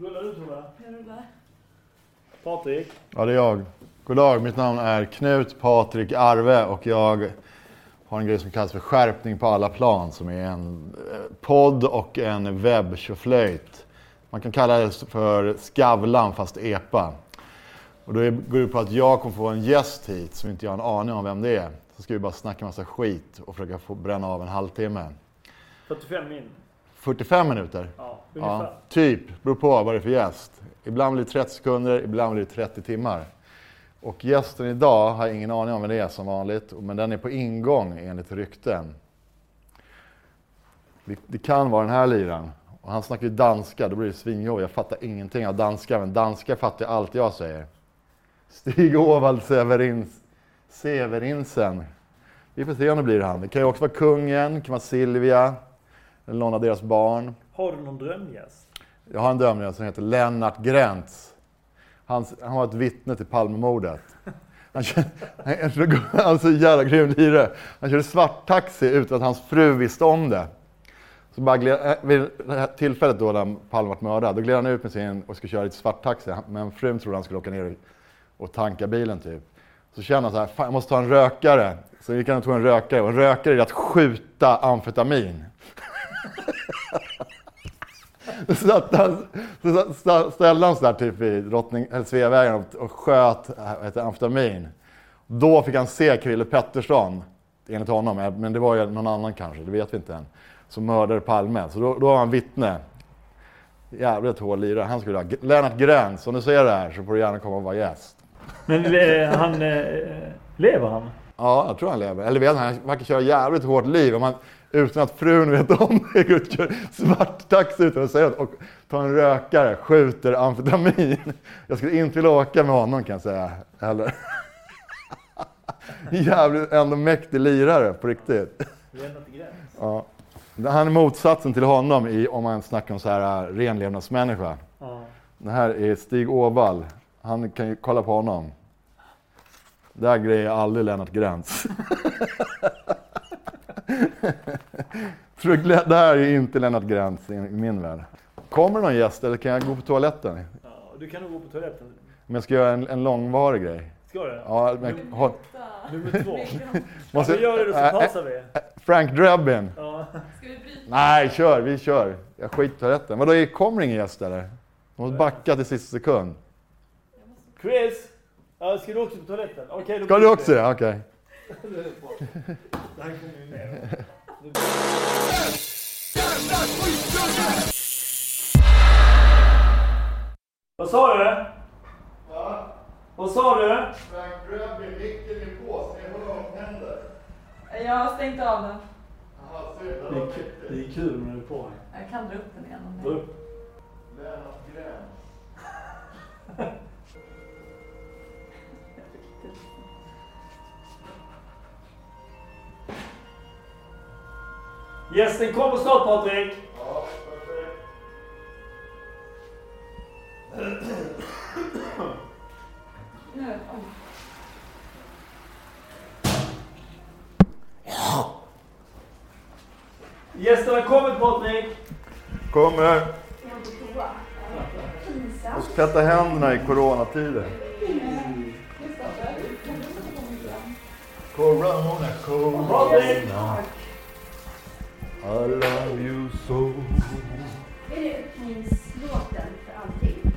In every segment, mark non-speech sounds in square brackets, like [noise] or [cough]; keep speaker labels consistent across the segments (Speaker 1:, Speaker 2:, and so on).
Speaker 1: Rullar du tror jag?
Speaker 2: Jag rullar.
Speaker 1: Patrik.
Speaker 3: Ja, det är jag. God dag, mitt namn är Knut Patrik Arve och jag har en grej som kallas för Skärpning på alla plan som är en eh, podd och en webbtjoflöjt. Man kan kalla det för Skavlan fast EPA. Och då är- går det ut på att jag kommer få en gäst hit som inte jag har en aning om vem det är. Så ska vi bara snacka massa skit och försöka få bränna av en halvtimme.
Speaker 1: 45 min.
Speaker 3: 45 minuter.
Speaker 1: Ja,
Speaker 3: Ja,
Speaker 1: ungefär.
Speaker 3: typ. Beror på vad det är för gäst. Ibland blir det 30 sekunder, ibland blir det 30 timmar. Och gästen idag har jag ingen aning om vem det är som vanligt, men den är på ingång enligt rykten. Det, det kan vara den här liraren. Och han snackar ju danska, då blir det svinjobb. Jag fattar ingenting av danska, men danska fattar jag allt jag säger. Stig Åvald Severins, Severinsen. Vi får se om det blir han. Det kan ju också vara kungen, det kan vara Silvia, eller någon av deras barn.
Speaker 1: Har du någon drömgäst?
Speaker 3: Jag har en dömare som heter Lennart Gräntz. Han, han var ett vittne till Palmemordet. Han körde, han körde, alltså jävla grym lirare. Han körde svart taxi utan att hans fru visste om det. Så bara gled, eh, vid det här tillfället då när Palme var mördad, då gled han ut med sin och skulle köra lite svart taxi. Han- Men frun trodde han skulle åka ner och tanka bilen typ. Så känner han så här, fan jag måste ta en rökare. Så gick han och tog en rökare och en rökare är att skjuta amfetamin. Så satt han, så satt- sta- ställde han sig där typ vid Drottning, eller Sveavägen och, och sköt äh, vad heter det, amfetamin. Då fick han se Krille Pettersson, enligt honom, eh, men det var ju någon annan kanske, det vet vi inte än, som mördade Palme. Så då, då var han vittne. Jävligt hård lirare. Han skulle ha... G- Lennart Gräns, om du ser det här så får du gärna komma och vara gäst.
Speaker 1: Men eh, han... Eh, lever han?
Speaker 3: Ja, jag tror han lever. Eller vet han, han verkar köra jävligt hårt liv. Om han, utan att frun vet om det, går ut och kör svart taxi utan att säga något. Och tar en rökare, skjuter amfetamin. Jag skulle inte vilja åka med honom kan jag säga. Eller? [laughs] Jävligt ändå mäktig lirare på riktigt.
Speaker 1: Lennart Gräns.
Speaker 3: Ja. Han är motsatsen till honom i, om man snackar om så här äh, renlevnadsmänniska.
Speaker 1: Ja.
Speaker 3: Det här är Stig Åvall. Han kan ju kolla på honom. Där grejer aldrig Lennart Gräns. [laughs] Tror du glä- det här är inte Lennart Gräns i i min värld. Kommer någon gäst eller kan jag gå på toaletten?
Speaker 1: ja. Du kan nog gå på toaletten.
Speaker 3: Men jag ska göra en, en långvarig grej.
Speaker 1: Ska du?
Speaker 3: Ja, men, håll,
Speaker 2: Vänta.
Speaker 1: Nummer två.
Speaker 3: måste,
Speaker 1: ja, vi gör det
Speaker 3: Äh,
Speaker 1: så
Speaker 3: äh,
Speaker 1: pausar vi.
Speaker 3: Frank Drebin.
Speaker 1: Ja.
Speaker 2: Ska vi bryta?
Speaker 3: Nej, kör. Vi kör. Jag skiter i toaletten. Vadå, är- kommer ingen gäst eller? De måste backa till sista sekund.
Speaker 1: Chris! Ja, ska du också på toaletten? Okej, då
Speaker 3: Ska
Speaker 1: bryter
Speaker 3: du
Speaker 1: vi.
Speaker 3: också det? Okej.
Speaker 1: Det här kommer ju med. Vad sa du? Vad sa du?
Speaker 3: Frank Drebin, micken är på. Ser du vad som händer?
Speaker 2: Jag har stängt av den.
Speaker 3: Jaha, synd. Det
Speaker 1: Det är,
Speaker 3: var
Speaker 1: k- det
Speaker 3: mäktigt.
Speaker 1: är kul när du är på.
Speaker 2: Jag kan dra upp den igen om
Speaker 1: Dra
Speaker 2: jag...
Speaker 1: upp.
Speaker 3: Lennart Gräns.
Speaker 1: Gästen kommer snart Patrik.
Speaker 3: Ja, perfekt.
Speaker 2: Nu, oj.
Speaker 1: Gästen har kommit Patrik.
Speaker 3: Kommer.
Speaker 2: Ska man på toa?
Speaker 3: Och tvätta händerna i coronatider. Corona,
Speaker 1: Patrik!
Speaker 3: corona. I love you so.
Speaker 4: Är det öppningslåten för allting?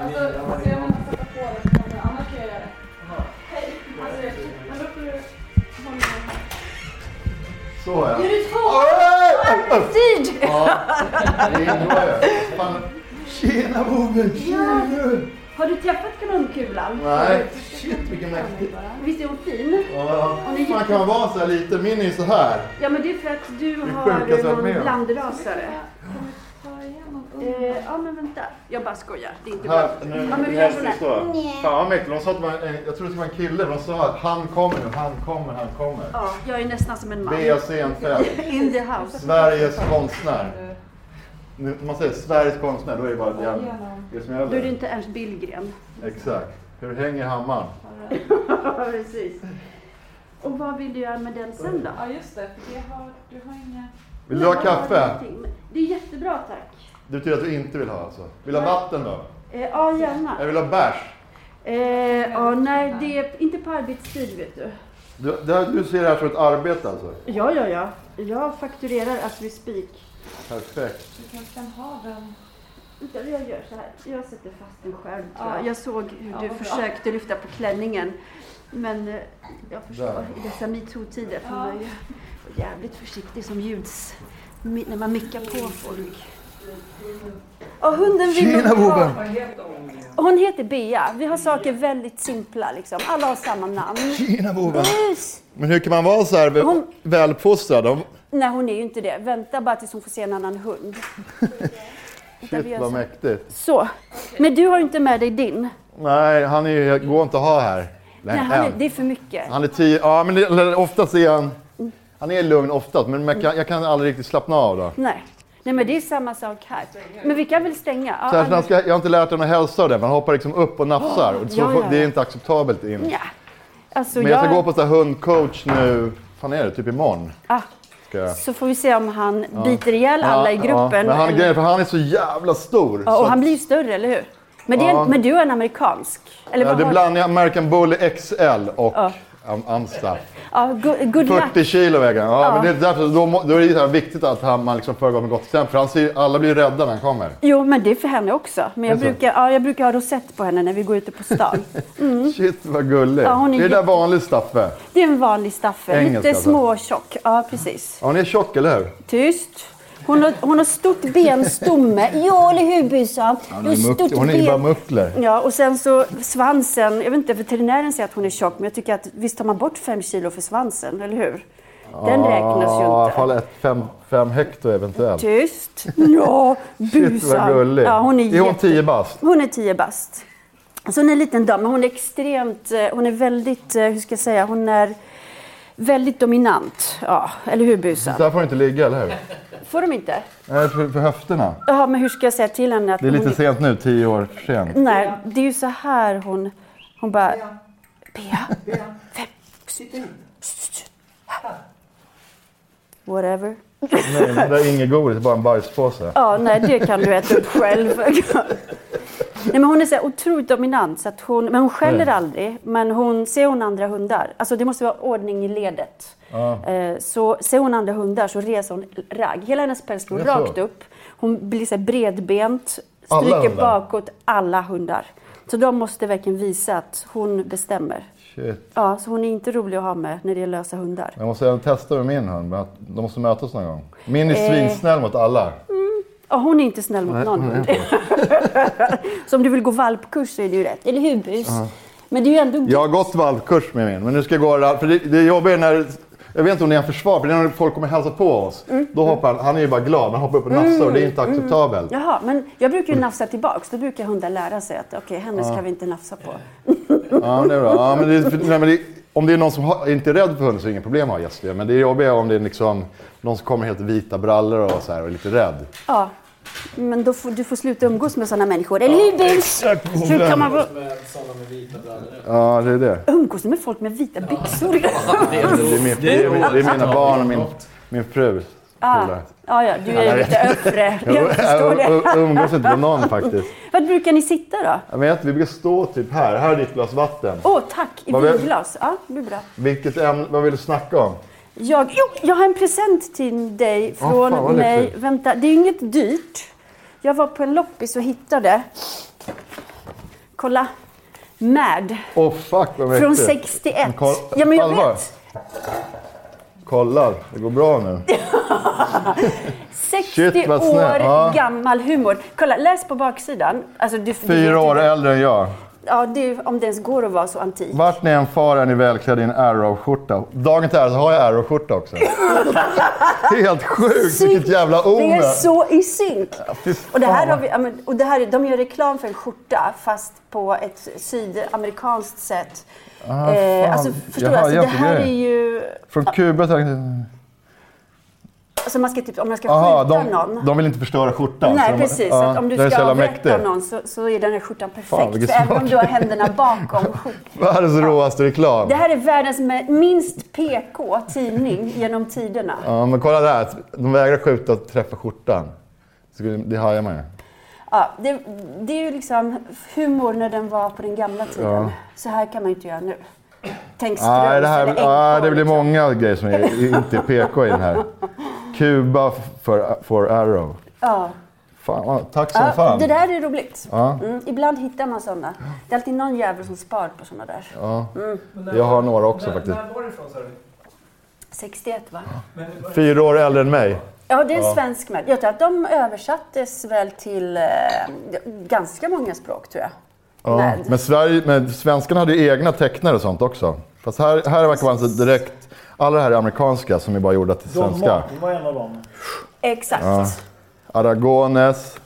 Speaker 2: Alltså, så jag måste sätta på den på den, annars kan jag göra det. Hej! Alltså, jag- men då får du hålla den
Speaker 3: Så ja.
Speaker 4: Är det två?
Speaker 3: Oj!
Speaker 4: Tid!
Speaker 3: Ja, det är bra. Fan. Tjena Boben!
Speaker 4: Ja. Har du träffat kanonkulan?
Speaker 3: Nej, shit vilken mäktig.
Speaker 4: Visst är hon fin?
Speaker 3: Ja, fan kan man vara så här lite? Min är ju så här.
Speaker 4: Ja men det är för att du
Speaker 3: är
Speaker 4: har
Speaker 3: sjukaste jag varit
Speaker 4: någon
Speaker 3: med om.
Speaker 4: blandrasare.
Speaker 2: Ta igenom
Speaker 4: Eh, ja men vänta, jag bara skojar. Det är inte bra.
Speaker 3: Här, nu,
Speaker 4: Ja, men vi gör
Speaker 3: här
Speaker 4: sådär.
Speaker 3: står Fan vad mäktigt. De sa att man, eh, jag trodde det var en kille, men de sa att han kommer nu, han kommer, han kommer.
Speaker 4: Ja, jag är nästan som en man.
Speaker 3: Bea Senfeldt,
Speaker 4: In the house.
Speaker 3: Sveriges konstnär. Nu, om man säger Sveriges konstnär, då är det bara det, jag- det som
Speaker 4: Då är det
Speaker 3: gäller.
Speaker 4: inte Ernst Billgren. [laughs]
Speaker 3: Exakt. Hur hänger hammaren?
Speaker 4: Ja, precis. Och vad vill du göra med den sen då?
Speaker 2: Ja, just det. För det har, du har inga...
Speaker 3: Vill du ha
Speaker 4: Nej, jag har
Speaker 3: kaffe?
Speaker 4: ingenting. Det är jättebra tack.
Speaker 3: Det betyder att du inte vill ha alltså. Vill du ha vatten då?
Speaker 4: Eh, ja, gärna.
Speaker 3: Jag vill ha bärs.
Speaker 4: Eh, ja, nej, det är inte på arbetstid, vet du.
Speaker 3: Du, det här, du ser det här som ett arbete alltså?
Speaker 4: Ja, ja, ja. Jag fakturerar as we speak.
Speaker 3: Perfekt.
Speaker 2: Du kanske kan ha den.
Speaker 4: Vänta, Jag gör så här. Jag sätter fast den själv, tror
Speaker 2: Ja.
Speaker 4: jag. Jag såg hur
Speaker 2: Ja,
Speaker 4: du
Speaker 2: vad bra.
Speaker 4: försökte lyfta på klänningen. Men eh, jag förstår,
Speaker 3: Där.
Speaker 4: i dessa metoo-tider får
Speaker 2: Ja.
Speaker 4: man ju vara jävligt försiktig som ljuds... mi- När man mickar på folk. Ja, hunden vill
Speaker 3: Tjena boven!
Speaker 4: Hon heter Bea. Vi har saker väldigt simpla, liksom. Alla har samma namn.
Speaker 3: Tjena boven!
Speaker 4: Bus!
Speaker 3: Men hur kan man vara så här väl-
Speaker 4: Hon-
Speaker 3: välfostrad? Om-
Speaker 4: Nej, hon är ju inte det. Vänta bara tills hon får se en annan
Speaker 3: [laughs]
Speaker 4: hund. Där vi
Speaker 3: Shit
Speaker 4: gör
Speaker 3: vad
Speaker 4: så.
Speaker 3: mäktigt.
Speaker 4: Så. Men du har ju inte med dig din.
Speaker 3: Nej, han är ju, går inte att ha här.
Speaker 4: Nej, han är,
Speaker 3: än.
Speaker 4: det är för mycket.
Speaker 3: Han är tio, ja men det, eller oftast är han, han är lugn oftast men man kan, jag kan aldrig riktigt slappna av då.
Speaker 4: Nej. Nej, men det är samma sak här. Men vi kan väl stänga? Ja,
Speaker 3: Särskilt när han
Speaker 4: annars-
Speaker 3: ska, jag har inte lärt honom att hälsa och det, man hoppar liksom upp och nafsar. Och så,
Speaker 4: Ja, ja, ja.
Speaker 3: Det är inte acceptabelt in.
Speaker 4: Nja. Alltså,
Speaker 3: Men jag ska
Speaker 4: jag...
Speaker 3: gå på så här hundcoach nu, fan är det, typ imorgon.
Speaker 4: ah,
Speaker 3: Ska jag.
Speaker 4: så får vi se om han biter ihjäl alla i
Speaker 3: Ja,
Speaker 4: gruppen.
Speaker 3: Ja, men han,
Speaker 4: eller-
Speaker 3: grejen är för han är så jävla stor.
Speaker 4: Ja,
Speaker 3: så
Speaker 4: och han
Speaker 3: att-
Speaker 4: blir ju större, eller hur? Men, det är en,
Speaker 3: Ja.
Speaker 4: men du är en amerikansk? Eller
Speaker 3: ja,
Speaker 4: vad
Speaker 3: det
Speaker 4: har-
Speaker 3: blandar jag American Bull XL och
Speaker 4: Ja.
Speaker 3: Am- Amstaff.
Speaker 4: Ja, good, good luck.
Speaker 3: 40 kilo väger han. Ja,
Speaker 4: Ja.
Speaker 3: Men det är därför, då, må- då är det ju så här viktigt att han, man liksom föregår med gott exempel. För han ser, ju- alla blir ju rädda när han kommer.
Speaker 4: Jo, men det är för henne också. Men jag
Speaker 3: Är det så?
Speaker 4: brukar, ja, jag brukar ha rosett på henne när vi går ute
Speaker 3: [laughs]
Speaker 4: på stan.
Speaker 3: Shit vad gullig.
Speaker 4: Mm. Ja, hon är
Speaker 3: det är
Speaker 4: jätte-
Speaker 3: där vanlig Staffe.
Speaker 4: Det är en vanlig staffel.
Speaker 3: Engelsk
Speaker 4: Lite
Speaker 3: alltså.
Speaker 4: småtjock. Ja, precis.
Speaker 3: Ja, hon är tjock, eller hur?
Speaker 4: Tyst. Hon har, hon har stort benstomme. Ja, eller hur busan? Du har stort
Speaker 3: hon är ju bara
Speaker 4: ben.
Speaker 3: muckler.
Speaker 4: Ja, och sen så svansen. Jag vet inte, veterinären säger att hon är tjock, men jag tycker att visst tar man bort fem kilo för svansen, eller hur? Den
Speaker 3: Ah,
Speaker 4: räknas ju
Speaker 3: Ja, i alla fall
Speaker 4: inte.
Speaker 3: ett fem, fem hekto eventuellt. [laughs]
Speaker 4: Tyst. Ja, busan.
Speaker 3: Shit vad gullig.
Speaker 4: Ja, hon är,
Speaker 3: är hon
Speaker 4: jätte-
Speaker 3: tio bast?
Speaker 4: Hon är 10 bast. Så hon är en liten dam, men hon är extremt, eh, hon är väldigt, eh, hur ska jag säga, hon är väldigt dominant. Ja, eller hur busan?
Speaker 3: Så här får du inte ligga, eller hur?
Speaker 4: Får de inte?
Speaker 3: Nej, för, för höfterna.
Speaker 4: Ja, men hur ska jag säga till henne att
Speaker 3: Det är lite
Speaker 4: hon...
Speaker 3: sent nu, tio år för
Speaker 4: [laughs]
Speaker 3: sent.
Speaker 4: Nej, det är ju så här hon, hon bara... Bea? Vem? Shh, Whatever.
Speaker 3: Nej, men det där är inget godis, bara en bajspåse.
Speaker 4: Ja, nej, det kan du äta
Speaker 3: [laughs]
Speaker 4: upp själv. nej, men hon är så här otroligt dominant, så att hon, men hon skäller
Speaker 3: Mm.
Speaker 4: aldrig. Men hon, ser hon andra hundar, alltså det måste vara ordning i ledet.
Speaker 3: Ja.
Speaker 4: Eh, Så ser hon andra hundar så reser hon ragg. Hela hennes päls går
Speaker 3: Det är så.
Speaker 4: rakt upp. Hon blir så här bredbent,
Speaker 3: Alla
Speaker 4: stryker
Speaker 3: hundar?
Speaker 4: bakåt alla hundar. Så de måste verkligen visa att hon bestämmer.
Speaker 3: Shit.
Speaker 4: Ja, så hon är inte rolig att ha med när det är lösa hundar.
Speaker 3: Jag måste även testa med min hund. men att- De måste mötas någon gång. Min är
Speaker 4: Eh.
Speaker 3: svinsnäll mot alla.
Speaker 4: Ja, hon är inte snäll mot
Speaker 3: Nej,
Speaker 4: någon
Speaker 3: hon är
Speaker 4: hund. så om du vill gå valpkurs så är det ju rätt. Eller hur bus? Men det är ju ändå...
Speaker 3: Jag har gått valpkurs med min, men nu ska jag gå rall- för det, det jobbiga är när... Jag vet inte om det är en försvar, för det är när folk kommer hälsa på oss.
Speaker 4: Mm.
Speaker 3: Då hoppar han, han är ju bara glad, han hoppar upp och nafsar och det är inte acceptabelt.
Speaker 4: Jaha, men jag brukar ju nafsa tillbaks. Då brukar hundar lära sig att okej, henne ska vi inte nafsa på. Mm.
Speaker 3: Ja, men det är bra. Ja, men det, för, nej, men det, om det är någon som har, inte är rädd för hunden så är det inget problem att ha gäster. Men det är jobbiga om det är liksom, någon som kommer helt i vita brallor och, så här, och är lite rädd.
Speaker 4: Ja, men då får, du får sluta umgås med sådana människor. Eller hur bus? Hur kan man vara-
Speaker 5: Med sådana med vita brallor.
Speaker 3: Ja, det är det.
Speaker 4: umgås med folk med vita byxor?
Speaker 5: Det är,
Speaker 3: Det är, min, det är, min, det är mina barn och min, min fru.
Speaker 4: Ah,
Speaker 3: polare.
Speaker 4: ja, ja, du är ju lite
Speaker 3: [laughs]
Speaker 4: öfre. Jag förstår
Speaker 3: Jag
Speaker 4: det.
Speaker 3: jag umgås inte med någon faktiskt.
Speaker 4: Var brukar ni sitta då?
Speaker 3: Jag vet, vi brukar stå typ här. Här är ditt glas vatten.
Speaker 4: Åh, tack! I
Speaker 3: Vad vi-
Speaker 4: vinglas. Ja, det blir bra.
Speaker 3: Vilket ämne, vad vill du snacka om?
Speaker 4: Jag, jo, jag har en present till dig
Speaker 3: Åh,
Speaker 4: från
Speaker 3: fan, vad
Speaker 4: mig.
Speaker 3: lyckligt.
Speaker 4: Vänta, det är inget dyrt. Jag var på en loppis och hittade... Kolla. Mad.
Speaker 3: Åh fuck vad mäktigt.
Speaker 4: Från 61.
Speaker 3: Kolla-
Speaker 4: Ja, men jag
Speaker 3: Allvar?
Speaker 4: vet.
Speaker 3: Kollar, det går bra nu.
Speaker 4: 60
Speaker 3: Shit, vad snäll.
Speaker 4: år
Speaker 3: Ja.
Speaker 4: gammal humor. Kolla, läs på baksidan. Alltså, du, du vet ju-
Speaker 3: Fyra år äldre än jag.
Speaker 4: Ja, det är, om det ens går att vara så antik.
Speaker 3: Vart ni än far är ni välklädda i en Arrow-skjorta. Dagen till ära så har jag Arrow-skjorta också. Helt sjukt, vilket jävla
Speaker 4: Det är
Speaker 3: omen.
Speaker 4: så i synk.
Speaker 3: fy
Speaker 4: Och det här
Speaker 3: fan.
Speaker 4: har vi, ja, men- och det här, är- de gör reklam för en skjorta fast på ett sydamerikanskt sätt.
Speaker 3: Ah, fan.
Speaker 4: eh, alltså, förstår du?
Speaker 3: Jaha,
Speaker 4: Alltså, det
Speaker 3: jävla
Speaker 4: här är
Speaker 3: grej.
Speaker 4: ju...
Speaker 3: Från Kuba tänkte jag...
Speaker 4: Alltså, man ska typ, om man ska
Speaker 3: Jaha,
Speaker 4: skjuta
Speaker 3: de,
Speaker 4: någon.
Speaker 3: de vill inte förstöra skjortan. så
Speaker 4: Nej,
Speaker 3: de,
Speaker 4: precis.
Speaker 3: ja,
Speaker 4: så att om du
Speaker 3: det är så
Speaker 4: ska
Speaker 3: jävla
Speaker 4: avrätta
Speaker 3: mäktigt.
Speaker 4: någon så, så är den här skjortan perfekt.
Speaker 3: Fan, vilken
Speaker 4: för även om
Speaker 3: smak.
Speaker 4: du har händerna bakom skjortan
Speaker 3: [laughs] Världens råaste reklam.
Speaker 4: Det här är världens me- minst PK tidning genom tiderna.
Speaker 3: Ja, men kolla där. De vägrar skjuta och träffa skjortan. Skulle- Det hajar man ju.
Speaker 4: Ja, det, det är ju liksom humor när den var på den gamla tiden.
Speaker 3: Ja.
Speaker 4: Så här kan man ju inte göra nu. Tänk strunt
Speaker 3: Nej, det, här, nej,
Speaker 4: eller
Speaker 3: det
Speaker 4: ekorre,
Speaker 3: blir
Speaker 4: liksom.
Speaker 3: många grejer som är, inte är PK i den här. Kuba f- för, for Arrow.
Speaker 4: Ja.
Speaker 3: Fan, vad- tack som
Speaker 4: Ja,
Speaker 3: fan.
Speaker 4: Ah, det där är roligt.
Speaker 3: Ja,
Speaker 4: Mm, ibland hittar man sådana. Det är alltid någon jävel som sparar på sådana där.
Speaker 3: ja.
Speaker 1: Men när-
Speaker 3: Jag har några också
Speaker 1: när,
Speaker 3: faktiskt.
Speaker 1: När var det ifrån sa du?
Speaker 4: 61 va?
Speaker 1: Men var det-
Speaker 3: Fyra år äldre än mig.
Speaker 4: Ja, det är en
Speaker 3: Ja.
Speaker 4: svensk med. Jag tror att de översattes väl till eh, ganska många språk tror jag.
Speaker 3: Ja.
Speaker 4: Med.
Speaker 3: Men, Sverige, men svenskarna hade ju egna tecknare och sånt också. Fast här, här verkar vara så direkt... Alla det här är amerikanska som är bara gjorda till
Speaker 1: Don
Speaker 3: svenska.
Speaker 1: Martin var en av dem.
Speaker 4: Exakt.
Speaker 3: Ja. Aragones.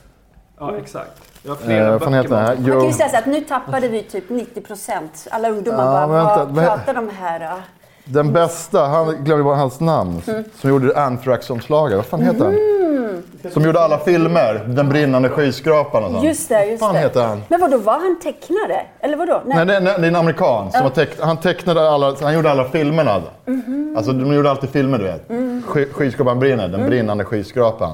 Speaker 1: Ja, exakt. Jag har flera
Speaker 3: Eh, vad
Speaker 1: böcker
Speaker 3: fan heter den
Speaker 1: med
Speaker 3: här?
Speaker 1: honom.
Speaker 4: Man kan ju
Speaker 3: Jo.
Speaker 4: säga så att nu tappade vi typ 90 procent. Alla ungdomar
Speaker 3: Ja,
Speaker 4: bara,
Speaker 3: vänta,
Speaker 4: vad
Speaker 3: men-
Speaker 4: pratar de här? ja?"
Speaker 3: Den bästa, han glömde bara hans namn, som gjorde Anthrax-omslaget. Vad fan heter han?
Speaker 4: Mm.
Speaker 3: Som gjorde alla filmer. Den brinnande skyskrapan och sånt.
Speaker 4: Just det, just
Speaker 3: Vad fan
Speaker 4: det.
Speaker 3: heter han?
Speaker 4: Men vadå, var han tecknare? Eller vadå?
Speaker 3: Nej, det, nej, det är en amerikan. Som har teck, han, tecknade alla, han gjorde alla filmerna.
Speaker 4: Mhm.
Speaker 3: Alltså, de gjorde alltid filmer, du vet.
Speaker 4: Mm.
Speaker 3: Sky, skyskrapan brinner. Den brinnande skyskrapan. [laughs]
Speaker 4: [laughs]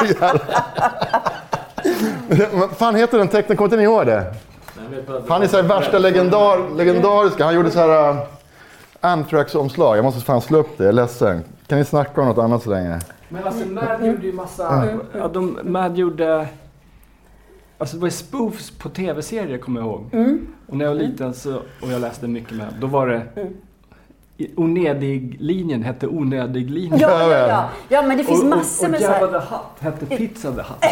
Speaker 3: Jävlar. Vad fan heter den tecknaren? Kommer inte ni ihåg det?
Speaker 5: Nej, jag vet bara att-
Speaker 3: Han är så här värsta legendar, legendariska. Han gjorde så här äh, Anthrax-omslag. Jag måste fan slå upp det. Jag är ledsen. Kan ni snacka om något annat så länge?
Speaker 6: Men alltså Mad gjorde ju massa... Ja, de, Mad gjorde... Alltså det var ju spoofs på tv-serier kommer jag ihåg.
Speaker 4: Mm.
Speaker 6: Och när jag var liten så, och jag läste mycket Mad, då var det...
Speaker 4: Mm.
Speaker 6: i- Onödig-linjen hette Onödig-linjen.
Speaker 4: Ja, ja, ja. ja, men det finns massor
Speaker 6: och,
Speaker 4: med
Speaker 6: och
Speaker 4: så
Speaker 6: Jabba
Speaker 4: här.
Speaker 6: the Hutt hette Pizza the Hutt.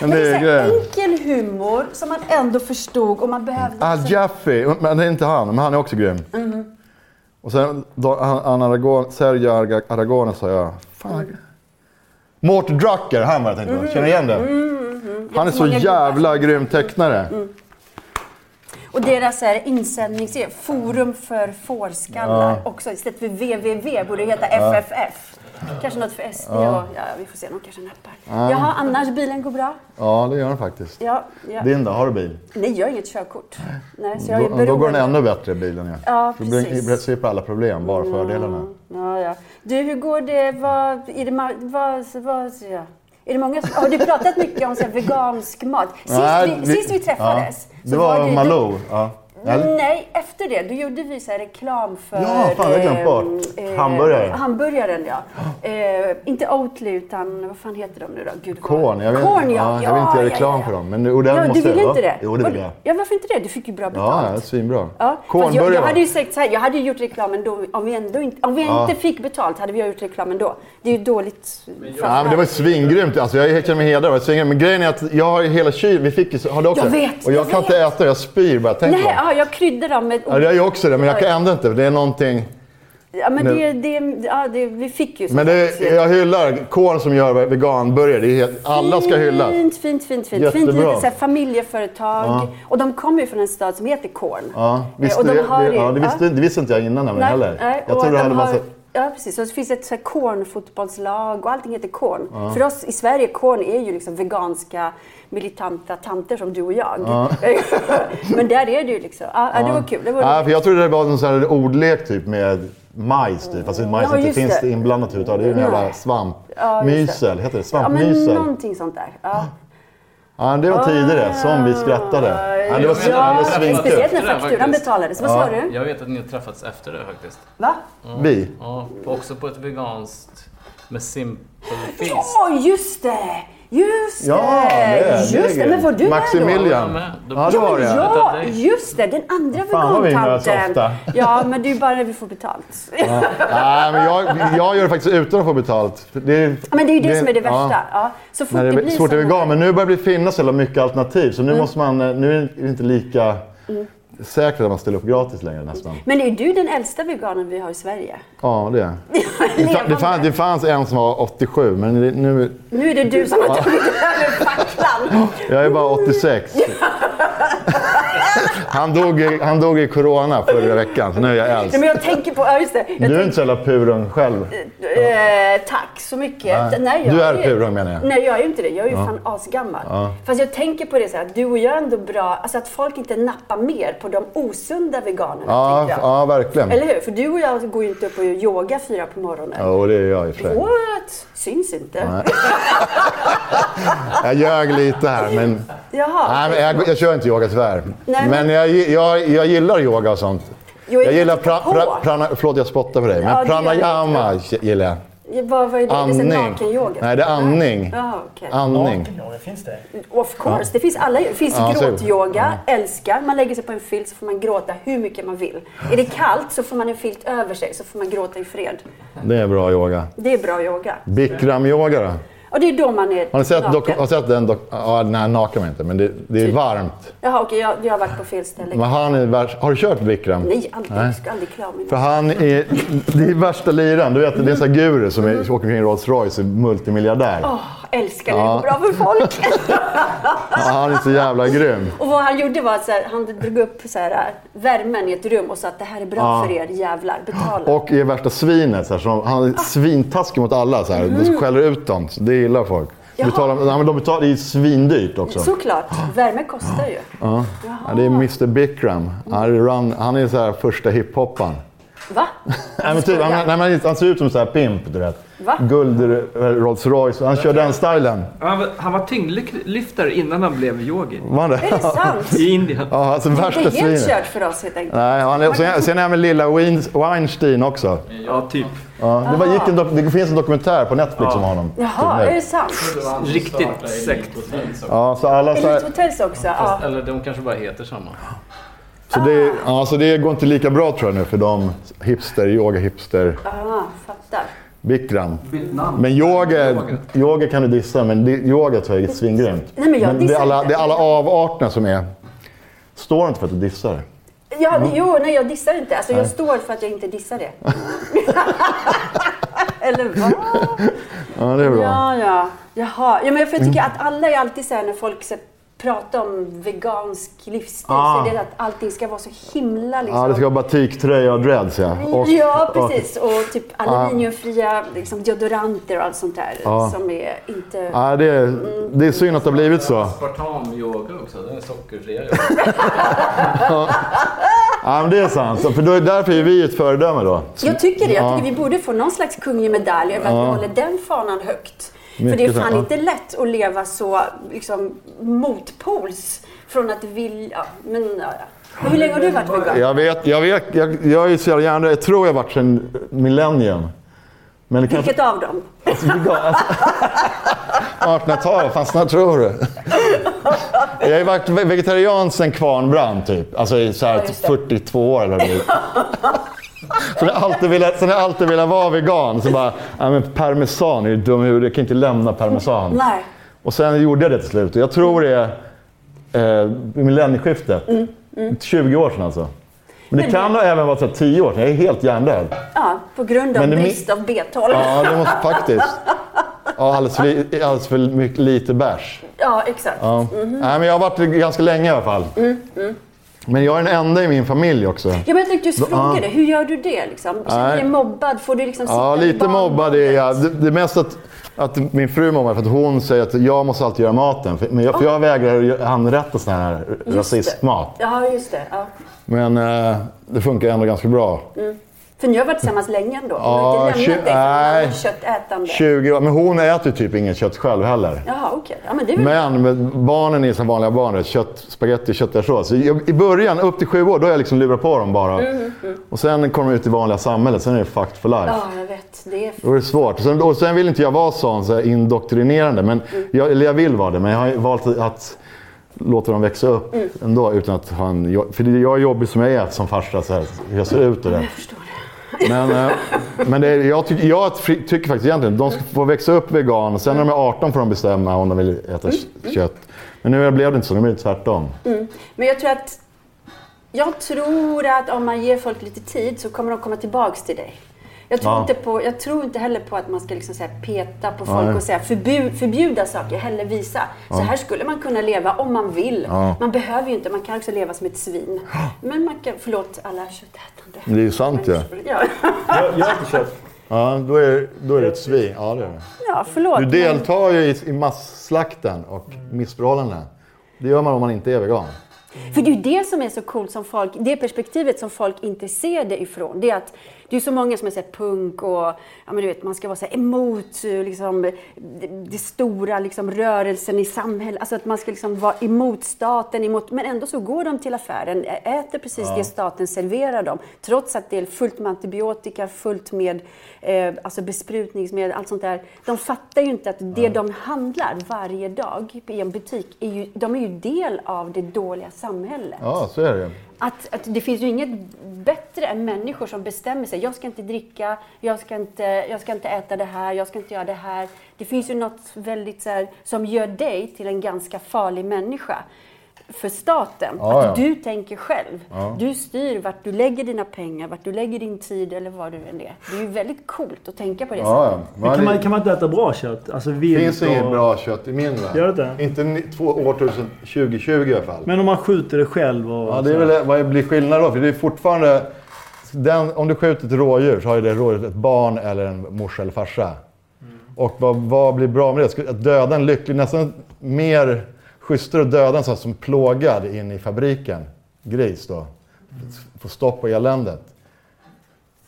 Speaker 3: Men
Speaker 4: Men
Speaker 3: det är
Speaker 4: så här
Speaker 3: grejen. Ah,
Speaker 4: enkel humor som man ändå förstod och man behövde.
Speaker 3: Al Jaffe. Men det är inte han. Men han är också grym.
Speaker 4: Uh-huh.
Speaker 3: Och sen då, han, han Aragon, Sergio Arga- Aragone sa jag. Fan. Mort Drucker, han var jag tänkte på. Känner ni igen det? Han är så
Speaker 4: Mm-hmm. Jättemånga gubbar. Mm.
Speaker 3: jävla grym tecknare.
Speaker 4: Och deras så här insändnings... Forum för fårskallar också. Istället för www borde det heta FFF. Kanske något för SD och... Ja, vi får se. De kanske nappar. Jaha, annars bilen går bra?
Speaker 3: Ja, det gör han faktiskt.
Speaker 4: Ja, ja.
Speaker 3: Din då? Har du bil?
Speaker 4: Nej, jag har inget körkort. Nej, så jag är
Speaker 3: Då, då går
Speaker 4: beroende.
Speaker 3: den ännu bättre, bilen. Ja.
Speaker 4: Ja,
Speaker 3: Då blir-
Speaker 4: precis. Mm,
Speaker 3: I princip alla problem, bara fördelarna.
Speaker 4: Ja, ja. Du, hur går det? Vad, är, det ma- vad, vad, ja. är det många som, Har du pratat mycket om så här, vegansk mat? Sist,
Speaker 3: Nej,
Speaker 4: vi, sist vi träffades...
Speaker 3: Ja, det
Speaker 4: så
Speaker 3: var
Speaker 4: du-
Speaker 3: Malou. Ja. Eller?
Speaker 4: Nej, efter det då gjorde vi så här reklam för...
Speaker 3: Ja, fan, jag har glömt
Speaker 4: eh,
Speaker 3: bort.
Speaker 4: eh,
Speaker 3: Hamburgare.
Speaker 4: Hamburgaren, ja. Eh, inte Oatly, utan vad fan heter de nu då? Gud, vad-
Speaker 3: Korn. Jag, vet,
Speaker 4: Korn, ja.
Speaker 3: ja, jag vill inte göra reklam för dem. Men, och den
Speaker 4: ja,
Speaker 3: måste
Speaker 4: du ville
Speaker 3: jag,
Speaker 4: inte det?
Speaker 3: Jo, det vill jag.
Speaker 4: Och- Ja, varför inte det? Du fick ju bra betalt.
Speaker 3: Ja, ja, svinbra.
Speaker 4: Ja, fast jag,
Speaker 3: Kornburgare.
Speaker 4: jag
Speaker 3: va?
Speaker 4: hade ju sagt så här, jag hade ju gjort reklam ändå. Om vi, ändå inte, om vi
Speaker 3: Ja.
Speaker 4: inte fick betalt hade vi gjort reklam ändå. Det är ju dåligt. för
Speaker 3: Ja, men det var svingrymt. Alltså, jag känner mig hedrad. Det var svingrymt. Men grejen är att jag har ju hela kylen. Vi fick ju... Har du också
Speaker 4: Jag
Speaker 3: det?
Speaker 4: vet,
Speaker 3: Och jag,
Speaker 4: jag
Speaker 3: kan
Speaker 4: vet.
Speaker 3: inte äta det. Jag spyr bara jag tänker
Speaker 4: Nej,
Speaker 3: på det.
Speaker 4: ja, jag kryddar dem med
Speaker 3: Ja, jag gör ju också det, men jag kan ändå inte. för Det är någonting...
Speaker 4: Ja, men
Speaker 3: nu.
Speaker 4: det, det, ja, det, vi fick ju så
Speaker 3: Men det, jag hyllar Korn som gör veganburgare. Det är helt, alla ska hyllas.
Speaker 4: Fint, fint, fint. fint.
Speaker 3: Jättebra.
Speaker 4: Fint litet så här, familjeföretag. Och de kommer ju från en stad som heter Korn.
Speaker 3: Ja, visste,
Speaker 4: och de
Speaker 3: det,
Speaker 4: har
Speaker 3: det,
Speaker 4: ju-
Speaker 3: ja, det, visste, det visste inte jag innan nämligen heller.
Speaker 4: nej,
Speaker 3: jag
Speaker 4: och
Speaker 3: trodde det
Speaker 4: de
Speaker 3: hade massa...
Speaker 4: har- Ja, precis. Och så finns det ett så här kornfotbollslag och allting heter korn. För oss i Sverige, korn är ju liksom veganska militanta tanter som du och jag. [laughs] Men där är det ju liksom. Ja, ja, det var kul. Det var
Speaker 3: Ja, för jag trodde det var någon sån här ordlek typ med majs typ. Fast majs
Speaker 4: Ja,
Speaker 3: inte
Speaker 4: just
Speaker 3: finns
Speaker 4: det.
Speaker 3: det inblandat överhuvudtaget. Det är ju en jävla
Speaker 4: Nej.
Speaker 3: svamp.
Speaker 4: Ja, just det.
Speaker 3: Mysel, heter det?
Speaker 4: ja, men
Speaker 3: Svampmysel.
Speaker 4: någonting sånt där. Ja.
Speaker 3: Ja, det var tider det. Som vi skrattade. Ja, det var, ja, det var
Speaker 4: Ja,
Speaker 3: svinkul.
Speaker 4: speciellt när fakturan betalades. Vad sa du?
Speaker 7: Jag vet att ni har träffats efter det faktiskt.
Speaker 4: Va?
Speaker 3: Vi.
Speaker 7: Ja, också på ett veganskt med simple feast.
Speaker 4: Ja, just det! Just det!
Speaker 3: Ja, det är-
Speaker 4: just
Speaker 3: det är
Speaker 4: det.
Speaker 3: grej.
Speaker 4: Men var du med då?
Speaker 7: Jag
Speaker 3: Maximilian.
Speaker 7: med. Då
Speaker 3: Ja, Alltså, det var det.
Speaker 7: Utan
Speaker 4: Ja,
Speaker 7: dig.
Speaker 4: just det! Den andra
Speaker 3: Fan, vad vi möts ofta.
Speaker 4: vegantanten. Ja, men det är ju bara när vi får betalt.
Speaker 3: Nej, men jag, jag gör det faktiskt utan att få betalt. Det är,
Speaker 4: Ja, men det är ju det, som är det
Speaker 3: ja.
Speaker 4: värsta. Ja. Så Mm. fort
Speaker 3: När det
Speaker 4: det
Speaker 3: är
Speaker 4: blir
Speaker 3: svårt att
Speaker 4: sådana-
Speaker 3: vegan, men nu börjar det finnas så jävla mycket alternativ. Så nu, måste man, eh, nu är det inte lika
Speaker 4: Mm.
Speaker 3: säkert att man ställer upp gratis längre nästan.
Speaker 4: Men är du den äldsta veganen vi har i Sverige?
Speaker 3: Ja, det
Speaker 4: [laughs]
Speaker 3: är det. fa- Det fanns, det fanns en som var 87, men det, nu...
Speaker 4: Nu är det du som har tagit över facklan.
Speaker 3: Jag är bara 86. Han dog, i, han dog i corona förra veckan, så nu är jag äldst.
Speaker 4: Nej, men jag tänker på... Ja, just det. Jag
Speaker 3: Du är
Speaker 4: tänker,
Speaker 3: inte så jävla purung själv.
Speaker 4: eh, tack så mycket.
Speaker 3: Nej.
Speaker 4: Nej, jag
Speaker 3: Du är
Speaker 4: ju-
Speaker 3: purung menar jag.
Speaker 4: Nej, jag är ju inte det. Jag är ju fan asgammal. Fast jag tänker på det så här, att du och jag är ändå bra... Alltså att folk inte nappar mer på de osunda veganerna,
Speaker 3: Ja,
Speaker 4: tänker jag.
Speaker 3: ja verkligen.
Speaker 4: Eller hur? För du och jag går ju inte upp och gör yoga fyra på morgonen.
Speaker 3: Jo, det är jag i och för sig.
Speaker 4: What? Syns inte.
Speaker 3: Nej. Jag ljög lite här, men,
Speaker 4: Jaha.
Speaker 3: nej, men jag, jag kör inte yoga tyvärr.
Speaker 4: Nej,
Speaker 3: men
Speaker 4: men-
Speaker 3: jag, jag, jag gillar yoga och sånt.
Speaker 4: Jo,
Speaker 3: Jag gillar
Speaker 4: kan titta
Speaker 3: pra, pra, prana, förlåt jag spottar på dig, men
Speaker 4: Ja, det gör
Speaker 3: pranayama gillar jag.
Speaker 4: Ja, Vad vad är det? Det är
Speaker 3: Andning.
Speaker 4: naken-yoga?
Speaker 3: Nej, det är andning.
Speaker 4: Jaha, okej.
Speaker 3: Andning.
Speaker 8: Ja, det finns det.
Speaker 4: Of course. Det finns, alla, det finns
Speaker 3: Ja, så-
Speaker 4: gråtyoga, älskar. Man lägger sig på en filt så får man gråta hur mycket man vill. Är det kallt så får man en filt över sig så får man gråta i fred.
Speaker 3: Det är bra yoga.
Speaker 4: Det är bra yoga.
Speaker 3: Bikram-yoga då?
Speaker 4: Och det är då man är
Speaker 3: Har ni sett, doku-
Speaker 4: naken. Typ.
Speaker 3: har sett den? Dok- ja, nej, naken var inte, men det, det är varmt.
Speaker 4: Jaha, okej. jag, jag har varit på fel ställe.
Speaker 3: Men han är värst. Har du kört Vikram?
Speaker 4: Nej, aldrig. Jag ska aldrig klä av mig.
Speaker 3: För han är, det är värsta liraren. Du vet, det är en sån här guru som är, åker omkring i Rolls Royce och är multimiljardär.
Speaker 4: Åh, älskar när det går bra för folk.
Speaker 3: Ja, han är så jävla grym.
Speaker 4: Och vad han gjorde var att så här, han drog upp så här, äh, värmen i ett rum och sa att det här är bra
Speaker 3: Ja.
Speaker 4: för er jävlar, betala.
Speaker 3: Och är värsta svinet. Så här, så han är svintaskig mot alla. Så här. Det skäller ut dem. Så det gillar folk. De
Speaker 4: Mm. Jaha.
Speaker 3: betalar, nej, men de betalar, det är svindyrt också.
Speaker 4: Såklart, värme kostar ju.
Speaker 3: Ja. Ja, det är Mr Bikram. Han är, run, han är så här första hiphopparen.
Speaker 4: Va?
Speaker 3: Nej, men typ, han, nej, men han- han ser ut som så här pimp, du vet.
Speaker 4: Va?
Speaker 3: Guld eh, Rolls Royce. Han kör den stylen.
Speaker 6: Han var, han var tyngdlyftare innan han blev yogi.
Speaker 3: Var han det?
Speaker 4: Är det sant?
Speaker 6: I Indien.
Speaker 3: [laughs] Ja, alltså
Speaker 4: Det
Speaker 3: värsta
Speaker 4: är helt
Speaker 3: svinet.
Speaker 4: kört för oss helt enkelt.
Speaker 3: Nej, han är, sen, sen är han med lilla Weins- Weinstein också.
Speaker 6: Ja, typ.
Speaker 3: Ja, det, var, gick en, dok- det finns en dokumentär på Netflix om honom.
Speaker 4: Jaha,
Speaker 3: Typ
Speaker 4: är
Speaker 3: nu.
Speaker 4: det sant?
Speaker 6: Riktigt sekt.
Speaker 3: Ja, så alla så, här,
Speaker 4: Elite Hotels också? Ja.
Speaker 7: Eller de kanske bara heter samma.
Speaker 3: så,
Speaker 4: Ah.
Speaker 3: det, ja, så det går inte lika bra tror jag nu för de hipster, yoga hipster,
Speaker 4: Ah, fattar.
Speaker 3: bikram. Men yoga, yoga kan du dissa, men det, yoga tror jag är svingrymt.
Speaker 4: Nej, men jag
Speaker 3: det, är
Speaker 4: dissar
Speaker 3: alla,
Speaker 4: inte.
Speaker 3: det är alla avarterna som är... Står inte för att du dissar.
Speaker 4: Ja, Jo, nej jag dissar inte. Alltså, jag står för att jag inte
Speaker 3: [laughs]
Speaker 4: dissar det. [laughs] Eller vad?
Speaker 3: Ja, det är bra.
Speaker 4: Ja, ja. Jaha. Ja, men för jag tycker att alla är alltid så här när folk så här pratar om vegansk livsstil
Speaker 3: Ah.
Speaker 4: så är det att allting ska vara så himla liksom.
Speaker 3: Ja, det ska vara batiktröja och dreads ja. Och-
Speaker 4: ja,
Speaker 3: och-
Speaker 4: precis. Och typ
Speaker 3: Ah.
Speaker 4: aluminiumfria liksom, deodoranter och allt sånt där
Speaker 3: Ja.
Speaker 4: som är inte...
Speaker 3: Ja, det, är, det är synd att det har blivit så.
Speaker 7: Spartan-yoga också, den är sockerfria.
Speaker 3: Ja, men det är sant. Så- För då är därför är vi ett föredöme då.
Speaker 4: Jag tycker det.
Speaker 3: Ja.
Speaker 4: Jag tycker vi borde få någon slags kunglig medalj över att
Speaker 3: Ja.
Speaker 4: vi håller den fanan högt.
Speaker 3: Ah. Mycket Ah.
Speaker 4: För det är
Speaker 3: sant,
Speaker 4: fan
Speaker 3: ja.
Speaker 4: inte lätt att leva så liksom, motpols från att vilja... Men, ja, ja. Men hur länge har du varit vegan?
Speaker 3: Jag vet, jag vet, jag, jag är så jävla gärna, jag tror jag har varit sedan millennium. Men det kanske
Speaker 4: Vilket av dem?
Speaker 3: alltså, vi gav- alltså, 1800-talet, fan snart tror du. Jag har ju varit ve- vegetarian sedan kvarn brann typ. Alltså i så här
Speaker 4: Ja, just det.
Speaker 3: 42 år eller vad det är. Sen har jag alltid velat, sen har jag alltid velat vara vegan. Så bara, ja men parmesan är ju dum i huvudet, jag kan inte lämna parmesan.
Speaker 4: Nej.
Speaker 3: Och sen gjorde jag det till slut. Och jag tror det är eh, millennieskiftet. 20 år sedan alltså. Men det
Speaker 4: Mm,
Speaker 3: kan
Speaker 4: Men det-
Speaker 3: även vara så här 10 år sedan. Jag är helt hjärndöd.
Speaker 4: Ja, på grund av
Speaker 3: Men det mi-
Speaker 4: brist av B12. Ja.
Speaker 3: Ja, det måste faktiskt. Ja, alldeles för, alldeles för mycket, lite bärs.
Speaker 4: exakt.
Speaker 3: Ja.
Speaker 4: Mhm.
Speaker 3: Nej, men jag har varit det ganska länge i alla fall.
Speaker 4: Mm,
Speaker 3: Men jag är den enda i min familj också.
Speaker 4: Ja, men jag tänkte just fråga
Speaker 3: ja.
Speaker 4: dig, hur gör du det? Liksom? Känner du
Speaker 3: Nej.
Speaker 4: dig mobbad? Får du liksom
Speaker 3: Ja,
Speaker 4: sitta i
Speaker 3: lite
Speaker 4: barn-
Speaker 3: mobbad är jag. Det, det är mest att, att min fru mobbar för att hon säger att jag måste alltid göra maten. För, men jag, för jag vägrar att anrätta sån här
Speaker 4: Ah. det.
Speaker 3: rasistmat.
Speaker 4: Ja, just det. Ja.
Speaker 3: Men eh, det funkar ändå ganska bra.
Speaker 4: Mm. För ni har varit tillsammans länge ändå. Du
Speaker 3: Ja,
Speaker 4: har inte
Speaker 3: tju-
Speaker 4: lämnat dig för
Speaker 3: nej.
Speaker 4: någon köttätande.
Speaker 3: 20 år. Men hon äter ju typ inget kött själv heller.
Speaker 4: Jaha, okej. Ja, men det är väl
Speaker 3: Men, men barnen är som vanliga barn. det är Kött, spagetti, köttfärssås. Så jag- I början, upp till sju år, då har jag liksom lurat på dem bara.
Speaker 4: Mm,
Speaker 3: Och sen kommer de ut i vanliga samhället. Sen är det fucked for life.
Speaker 4: Ja, jag vet. Det är...
Speaker 3: Då är det svårt. Och sen, och sen vill inte jag vara sån så här indoktrinerande. Men jag, eller jag vill vara det, men jag har ju valt att låta dem växa upp ändå. Utan att ha en, jo- för det- jag är jobbig som jag är som farsa, så här, hur jag ser ut och det. Men, eh, men det är, jag, tyck, jag fri- tycker faktiskt egentligen de ska få växa upp vegan. Sen när de är 18 får de bestämma om de vill äta kött. Men nu blev det inte så, nu blir det tvärtom.
Speaker 4: Men jag tror att... Jag tror att om man ger folk lite tid så kommer de komma tillbaks till dig. Jag tror,
Speaker 3: Ja.
Speaker 4: inte på, jag tror inte heller på att man ska liksom så här peta på
Speaker 3: Nej.
Speaker 4: folk och säga förbjud, förbjuda saker, hellre visa. Så här skulle man kunna leva om man vill.
Speaker 3: Ja.
Speaker 4: Man behöver ju inte, man kan också leva som
Speaker 3: [gasps]
Speaker 4: ett svin. Men man kan, förlåt alla
Speaker 3: Det
Speaker 4: köttätande.
Speaker 3: är ju sant ja.
Speaker 4: Ja, [laughs]
Speaker 1: Jag, jag har inte kött.
Speaker 3: Ja, då är, då är det ett svin. Ja, det är det.
Speaker 4: ja förlåt.
Speaker 3: Du
Speaker 4: men-
Speaker 3: deltar ju i, i masslakten och missförhållanden. Det gör man om man inte är vegan.
Speaker 4: För det är ju det som är så coolt, som folk, det perspektivet som folk inte ser det ifrån. Det är att det är så många som är så här punk och ja, men du vet, man ska vara så här emot eh, liksom, det, det stora liksom, rörelsen i samhället. Alltså att man ska liksom vara emot staten, emot, men ändå så går de till affären, ä- äter precis det staten serverar dem. Trots att det är fullt med antibiotika, fullt med eh, alltså besprutningsmedel, allt sånt där. De fattar ju inte att det de handlar varje dag i en butik, är ju, de är ju del av det dåliga samhället.
Speaker 3: Ja, så är det ju.
Speaker 4: Att, att det finns ju inget bättre än människor som bestämmer sig. Jag ska inte dricka, jag ska inte, jag ska inte äta det här, jag ska inte göra det här. Det finns ju något väldigt så här, som gör dig till en ganska farlig människa för staten.
Speaker 3: Ja,
Speaker 4: att
Speaker 3: ja.
Speaker 4: du tänker själv. Du styr vart du lägger dina pengar, vart du lägger din tid eller vad du än är. Det är ju väldigt coolt att tänka på det
Speaker 3: Ja,
Speaker 4: sättet.
Speaker 3: ja.
Speaker 1: Men kan, man,
Speaker 3: det
Speaker 1: kan man inte äta bra kött? Alltså vilt
Speaker 3: finns inget
Speaker 1: och-
Speaker 3: bra kött i min värld.
Speaker 1: Gör det inte?
Speaker 3: Inte ni- två årtusen 2020 i alla fall.
Speaker 1: Men om man skjuter det själv och...
Speaker 3: Ja, det är väl, vad blir skillnaden då? För det är fortfarande... Den, om du skjuter ett rådjur så har ju det rådjuret ett barn eller en morsa eller farsa. Och vad, vad blir bra med det? Skulle- Att döda en lycklig... Nästan mer schysstare att döda en sån här som plågad in i fabriken. Gris då. Få stopp på eländet.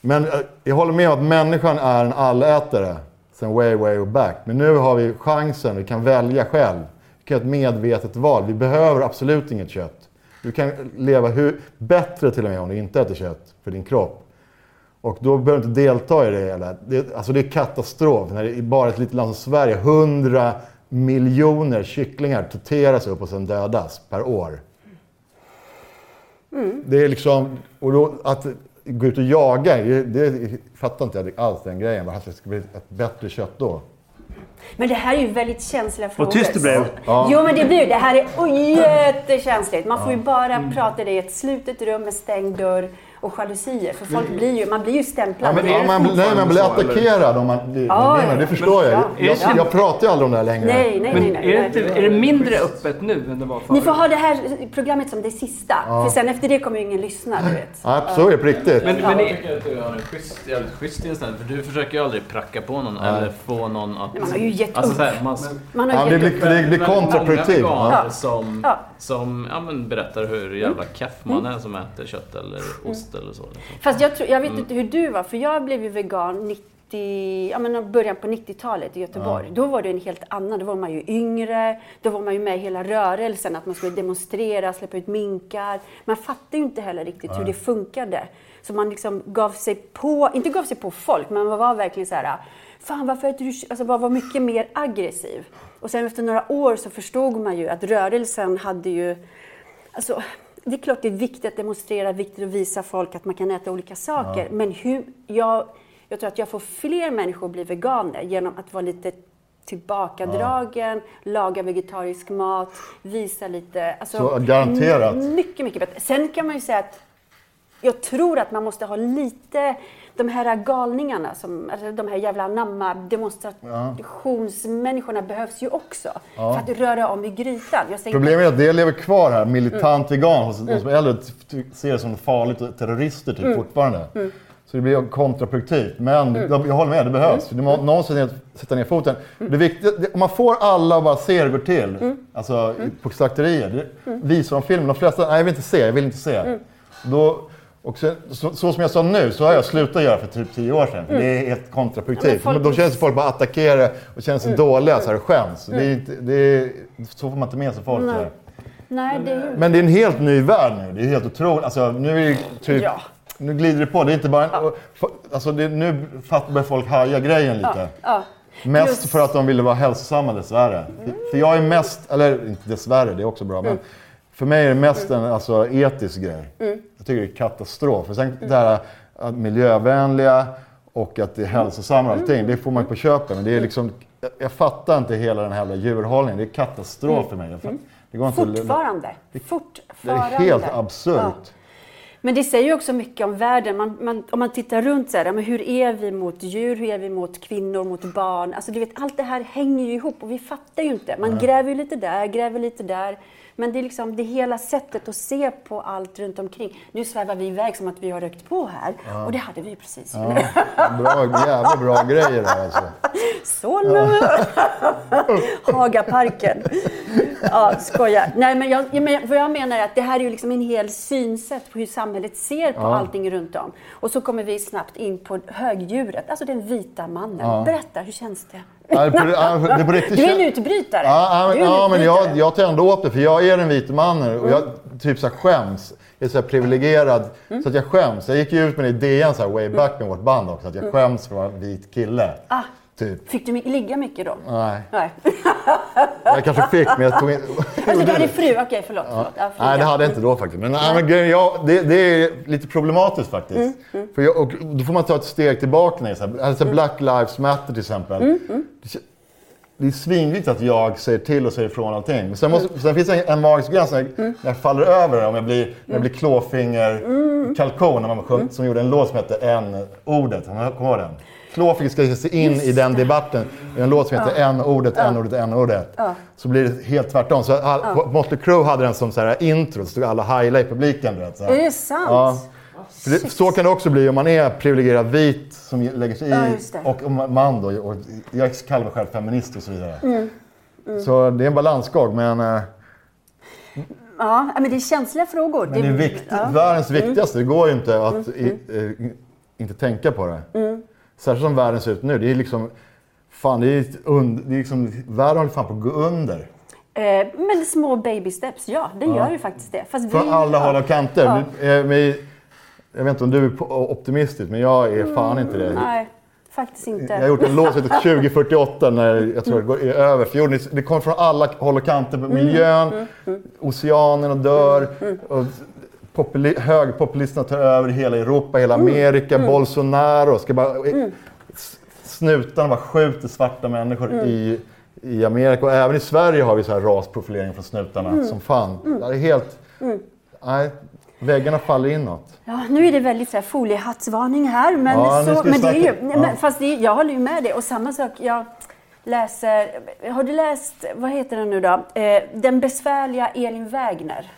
Speaker 3: Men eh, jag håller med om att människan är en allätare sen way, way back. Men nu har vi chansen, vi kan välja själv. Vi kan göra ett medvetet val. Vi behöver absolut inget kött. Du kan leva hur, bättre till och med om du inte äter kött för din kropp. Och då behöver du inte delta i det hela. Det, alltså det är katastrof när det i bara ett litet land som Sverige, 100 miljoner kycklingar torteras upp och sen dödas per år.
Speaker 4: Mm.
Speaker 3: Det är liksom, och då, att gå ut och jaga, det, det fattar inte jag alls den grejen. Varför ska det bli ett bättre kött då?
Speaker 4: Men det här är ju väldigt känsliga frågor.
Speaker 1: tyst det blev.
Speaker 3: Ja.
Speaker 4: Jo, men det blir ju. Det här är oj, jättekänsligt. Man får ju bara
Speaker 6: Mm.
Speaker 4: prata det i ett slutet rum med stängd dörr och jalusier. För folk
Speaker 6: Mm.
Speaker 4: blir ju, man blir ju
Speaker 3: Ja,
Speaker 4: stämplad.
Speaker 3: men,
Speaker 7: är
Speaker 3: ja,
Speaker 7: det
Speaker 3: man, nej, man
Speaker 7: fortfarande
Speaker 3: blir
Speaker 7: så, eller?
Speaker 3: attackerad om man blir
Speaker 4: Ja,
Speaker 3: det,
Speaker 4: ja.
Speaker 3: det förstår jag.
Speaker 4: Men-
Speaker 6: ja.
Speaker 3: Jag, jag pratar ju aldrig om det här längre.
Speaker 4: nej, nej, nej. nej,
Speaker 6: Men [laughs] är det,
Speaker 4: nej.
Speaker 6: inte, är det mindre öppet nu än det var
Speaker 4: Ni får
Speaker 6: förut?
Speaker 4: ha det här programmet som det sista. För sen efter det kommer ju ingen lyssna, du vet.
Speaker 3: Ja, så är det på riktigt.
Speaker 7: Men, men
Speaker 4: Ja.
Speaker 7: jag tycker att du har en schysst, jävligt schysst inställning. För du försöker ju aldrig pracka på någon eller få någon att...
Speaker 4: Man har ju gett
Speaker 7: Alltså
Speaker 4: upp.
Speaker 7: så här, man,
Speaker 4: Man
Speaker 3: Ja,
Speaker 4: har
Speaker 3: det
Speaker 4: gett
Speaker 3: blir,
Speaker 4: upp.
Speaker 3: det blir
Speaker 7: väldigt
Speaker 3: kontraproduktivt.
Speaker 7: Många veganer
Speaker 4: Ja.
Speaker 7: som,
Speaker 4: Ja. Mm.
Speaker 7: som ja, men berättar hur jävla keff man är som äter kött eller ost eller så. Liksom.
Speaker 4: Fast jag, tror, jag vet inte hur du var, för jag blev ju vegan 90, ja, men början på 90-talet i Göteborg. Då var det en helt annan, då var man ju yngre, då var man ju med i hela rörelsen att man skulle demonstrera, släppa ut minkar. Man fattade ju inte heller riktigt hur det funkade. Så man liksom gav sig på, inte gav sig på folk, men man var verkligen så här, fan varför äter du kö-" alltså man var mycket mer aggressiv. Och sen efter några år så förstod man ju att rörelsen hade ju, Alltså, det är klart det är viktigt att demonstrera, viktigt att visa folk att man kan äta olika saker. Men hur, jag, jag tror att jag får fler människor att bli veganer genom att vara lite tillbakadragen, laga vegetarisk mat, visa lite... Alltså,
Speaker 3: Så garanterat.
Speaker 4: my- Mycket, mycket bättre. Sen kan man ju säga att jag tror att man måste ha lite de här galningarna, som, alltså de här jävla namma demonstrationsmänniskorna behövs ju också för att röra om i grytan. Jag säger inte-
Speaker 3: Problemet är att det lever kvar här, militant vegan, hos
Speaker 4: Mm.
Speaker 3: de som är äldre ty- ser det som farligt och terrorister typ fortfarande.
Speaker 4: Mm.
Speaker 3: Så det blir kontraproduktivt. Men jag, jag håller med, det behövs. Mm. Det må, någon ska ner- sätta ner foten.
Speaker 4: Mm.
Speaker 3: Det viktiga, det, om man får alla att bara se hur det går till, alltså i-
Speaker 4: Mm.
Speaker 3: på slakterier, det, visar de filmen. De flesta, nej jag vill inte se, jag vill inte se.
Speaker 4: Mm.
Speaker 3: Då, och sen, så, så som jag sa nu, så har jag slutat göra för typ tio år sedan. För Det är helt kontraproduktivt.
Speaker 4: Mm. Ja, men folk-
Speaker 3: Men Då känns det folk bara attackerar och känner
Speaker 4: Mm.
Speaker 3: sig dåliga så här, och skäms. Det är, inte- det är, så får man inte med sig folk.
Speaker 4: Nej.
Speaker 3: Där.
Speaker 4: Nej, det är ju...
Speaker 3: Men det är en helt ny värld nu. Det är helt otroligt. Alltså, nu är det typ...
Speaker 4: Ja.
Speaker 3: Nu glider det på. Det är inte bara en, och- fa- alltså, det, nu fatt- börjar folk haja grejen lite.
Speaker 4: Ja.
Speaker 3: Mest
Speaker 4: Just-
Speaker 3: för att de ville vara hälsosamma dessvärre. För- För jag är mest, eller inte dessvärre, det är också bra, men
Speaker 4: Mm.
Speaker 3: för mig är det mest en alltså, etisk grej. Jag tycker det är katastrof. För sen det här att miljövänliga och att det är hälsosamma och allting, det får man ju på köpet. Men det är liksom, jag, jag fattar inte hela den här jävla djurhållningen. Det är katastrof för mig. Jag fatt- Det går inte att-
Speaker 4: Mm. Fortfarande.
Speaker 3: det är
Speaker 4: Fortfarande.
Speaker 3: helt absurt.
Speaker 4: Ja. Men det säger ju också mycket om världen. Man, man, om man tittar runt så här, ja, men hur är vi mot djur, hur är vi mot kvinnor, mot barn? Alltså du vet, allt det här hänger ju ihop och vi fattar ju inte. Man gräver ju lite där, gräver lite där. Men det är liksom det hela sättet att se på allt runt omkring. Nu svävar vi iväg som att vi har rökt på här. Och det hade vi ju precis.
Speaker 3: Bra, jävla bra grejer det här alltså.
Speaker 4: Solna! [laughs] Hagaparken. Ja, skojar. Nej, men jag, jag men, vad jag menar är att det här är ju liksom en hel synsätt på hur samhället ser på allting runt om. Och så kommer vi snabbt in på högdjuret, alltså den vita mannen. Berätta, hur känns det?
Speaker 3: Ja, det är på- ja, det är på riktigt
Speaker 4: Du är en
Speaker 3: känt.
Speaker 4: utbrytare.
Speaker 3: Ja, ja,
Speaker 4: Du
Speaker 3: men,
Speaker 4: är en
Speaker 3: ja, men jag,
Speaker 4: utbrytare.
Speaker 3: jag tar ändå åt det, för jag är en vit man och jag typ så här skäms. Jag är så här privilegierad, så att jag skäms. Jag gick ju ut med det i DN så här, way back med vårt band också, att jag skäms för att vara en vit kille. Typ.
Speaker 4: Ah, Fick du mi- ligga mycket då?
Speaker 3: Nej,
Speaker 4: Nej. [laughs]
Speaker 3: jag kanske fick, men jag tog inte...
Speaker 4: Alltså, du hade fru. Okej, förlåt. förlåt. Ja,
Speaker 3: Nej, det
Speaker 4: förlåt.
Speaker 3: hade jag inte då faktiskt. Men, nej, men grejen, jag, det, det är lite problematiskt faktiskt. För jag, och då får man ta ett steg tillbaka. Ner, så här. Alltså, Black Lives Matter till exempel. Det- Det är svinviktigt att jag säger till och säger ifrån allting. Men sen, måste, sen finns det en, en magisk gräns när jag, när jag faller över. Om jag blir, när jag blir klåfingerkalkon. När man sjöng,
Speaker 4: Mm.
Speaker 3: Som gjorde en låt som hette N-ordet. Kommer du ihåg den? Klåfinger ska ge sig in i den debatten. I en låt som heter N-ordet, N-ordet, N-ordet. Så blir det helt tvärtom. Så uh. Motley Crue hade den som så här intro. Så stod alla heila i publiken. Du vet, så här.
Speaker 4: Är det sant?
Speaker 3: Ja. För det, så kan det också bli om man är privilegierad vit som lägger sig i
Speaker 4: Ja, just det.
Speaker 3: och om man- man då. Och jag kallar mig själv feminist och så vidare.
Speaker 4: Mm.
Speaker 3: Så det är en balansgång men, eh,
Speaker 4: Ja, men det är känsliga frågor.
Speaker 3: men det är viktigt,
Speaker 4: ja. Mm.
Speaker 3: världens viktigaste. Det går ju inte att i, eh, inte tänka på det.
Speaker 4: Mm.
Speaker 3: Särskilt som världen ser ut nu. Det är liksom, fan det är, ett und, det är liksom, världen håller fan på att gå under.
Speaker 4: Eh, men små baby steps, ja, den gör ju faktiskt det. Fast
Speaker 3: Från
Speaker 4: vi,
Speaker 3: alla håll
Speaker 4: Mm. ja.
Speaker 3: och kanter.
Speaker 4: Ja.
Speaker 3: Men, eh, men, jag vet inte om du är po- optimistisk men jag är fan inte det.
Speaker 4: Nej, faktiskt inte.
Speaker 3: Jag har gjort en låt som heter 2048 när jag tror det går över. För jorden. Det kommer från alla håll och kanter. Miljön, oceanen och dör. Och populi- högerpopulisterna tar över hela Europa, hela Amerika. Bolsonaro ska bara... s- Snutarna bara skjuter svarta människor i, i Amerika. Och även i Sverige har vi så här rasprofilering från snutarna som fan. Det är helt... Nej, väggarna faller inåt.
Speaker 4: Ja, nu är det väldigt så här, foliehattsvarning här, men,
Speaker 3: Ja, nu
Speaker 4: så,
Speaker 3: ska vi
Speaker 4: men det är ju,
Speaker 3: snacka.
Speaker 4: nej,
Speaker 3: Ja.
Speaker 4: men, fast det, är- jag håller ju med dig. Och samma sak, jag läser, har du läst, vad heter den nu då, eh, Den besvärliga Elin Wägner?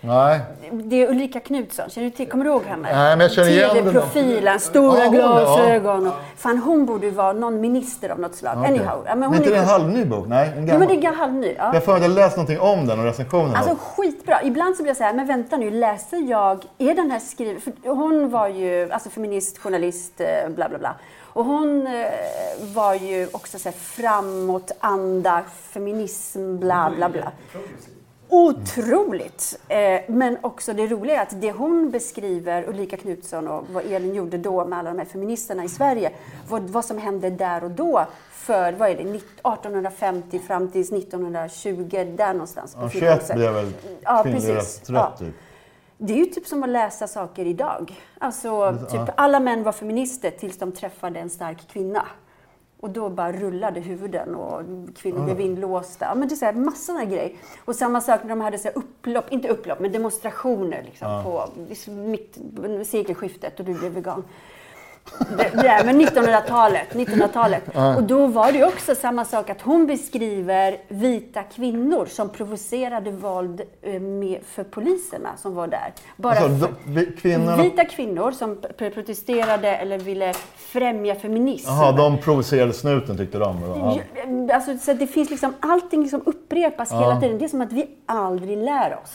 Speaker 3: Nej.
Speaker 4: Det är Ulrika Knutsson, känner du till, kommer du ihåg henne?
Speaker 3: Nej, men jag känner igen den.
Speaker 4: TV-profilen, stora
Speaker 3: Ja, hon, ja.
Speaker 4: glasögon. Och, fan, hon borde ju vara någon minister av något slag. Anyhow. Ja,
Speaker 3: men
Speaker 4: hon
Speaker 3: inte
Speaker 4: är
Speaker 3: det en
Speaker 4: ju-
Speaker 3: halvny bok? Nej, en gammal.
Speaker 4: Jo, men det är gammal halvny. Ja.
Speaker 3: Jag har för mig att jag läst någonting om den och recensionen.
Speaker 4: Alltså skitbra. Ibland så blir jag så här, men vänta nu, läser jag, är den här skriven... För hon var ju alltså feminist, journalist, eh, bla bla bla. Och hon eh, var ju också så här framåtanda, feminism, bla bla bla. Otroligt! Eh, men också det roliga är att det hon beskriver, Ulrika Knutsson och vad Elin gjorde då med alla de här feministerna i Sverige, vad, vad som hände där och då för, vad är det, 19- 1850 fram till 1920, där någonstans. på
Speaker 3: Ja, 21
Speaker 4: Firenze.
Speaker 3: blev väl
Speaker 4: Ja,
Speaker 3: kvinnlig
Speaker 4: precis.
Speaker 3: rösträtt,
Speaker 4: Ja.
Speaker 3: typ.
Speaker 4: Det är ju typ som att läsa saker idag. Alltså, typ, alla män var feminister tills de träffade en stark kvinna. Och då bara rullade huvuden och kvinnor blev inlåsta. Ja, men det är så här, massor av grejer. Och samma sak när de hade så här upplopp, inte upplopp, men demonstrationer liksom, på mitt sekelskiftet och du blev vegan. Det, det är, men 1900-talet. 1900-talet. Och då var det ju också samma sak att hon beskriver vita kvinnor som provocerade våld eh, med, för poliserna som var där. Bara
Speaker 3: Alltså,
Speaker 4: för-
Speaker 3: de- vi- kvinnorna-
Speaker 4: Vita kvinnor som p- protesterade eller ville främja feminism.
Speaker 3: Jaha, de provocerade snuten tyckte de. Ja.
Speaker 4: Ju- Alltså, så att det finns liksom, allting liksom upprepas hela tiden. Det är som att vi aldrig lär oss.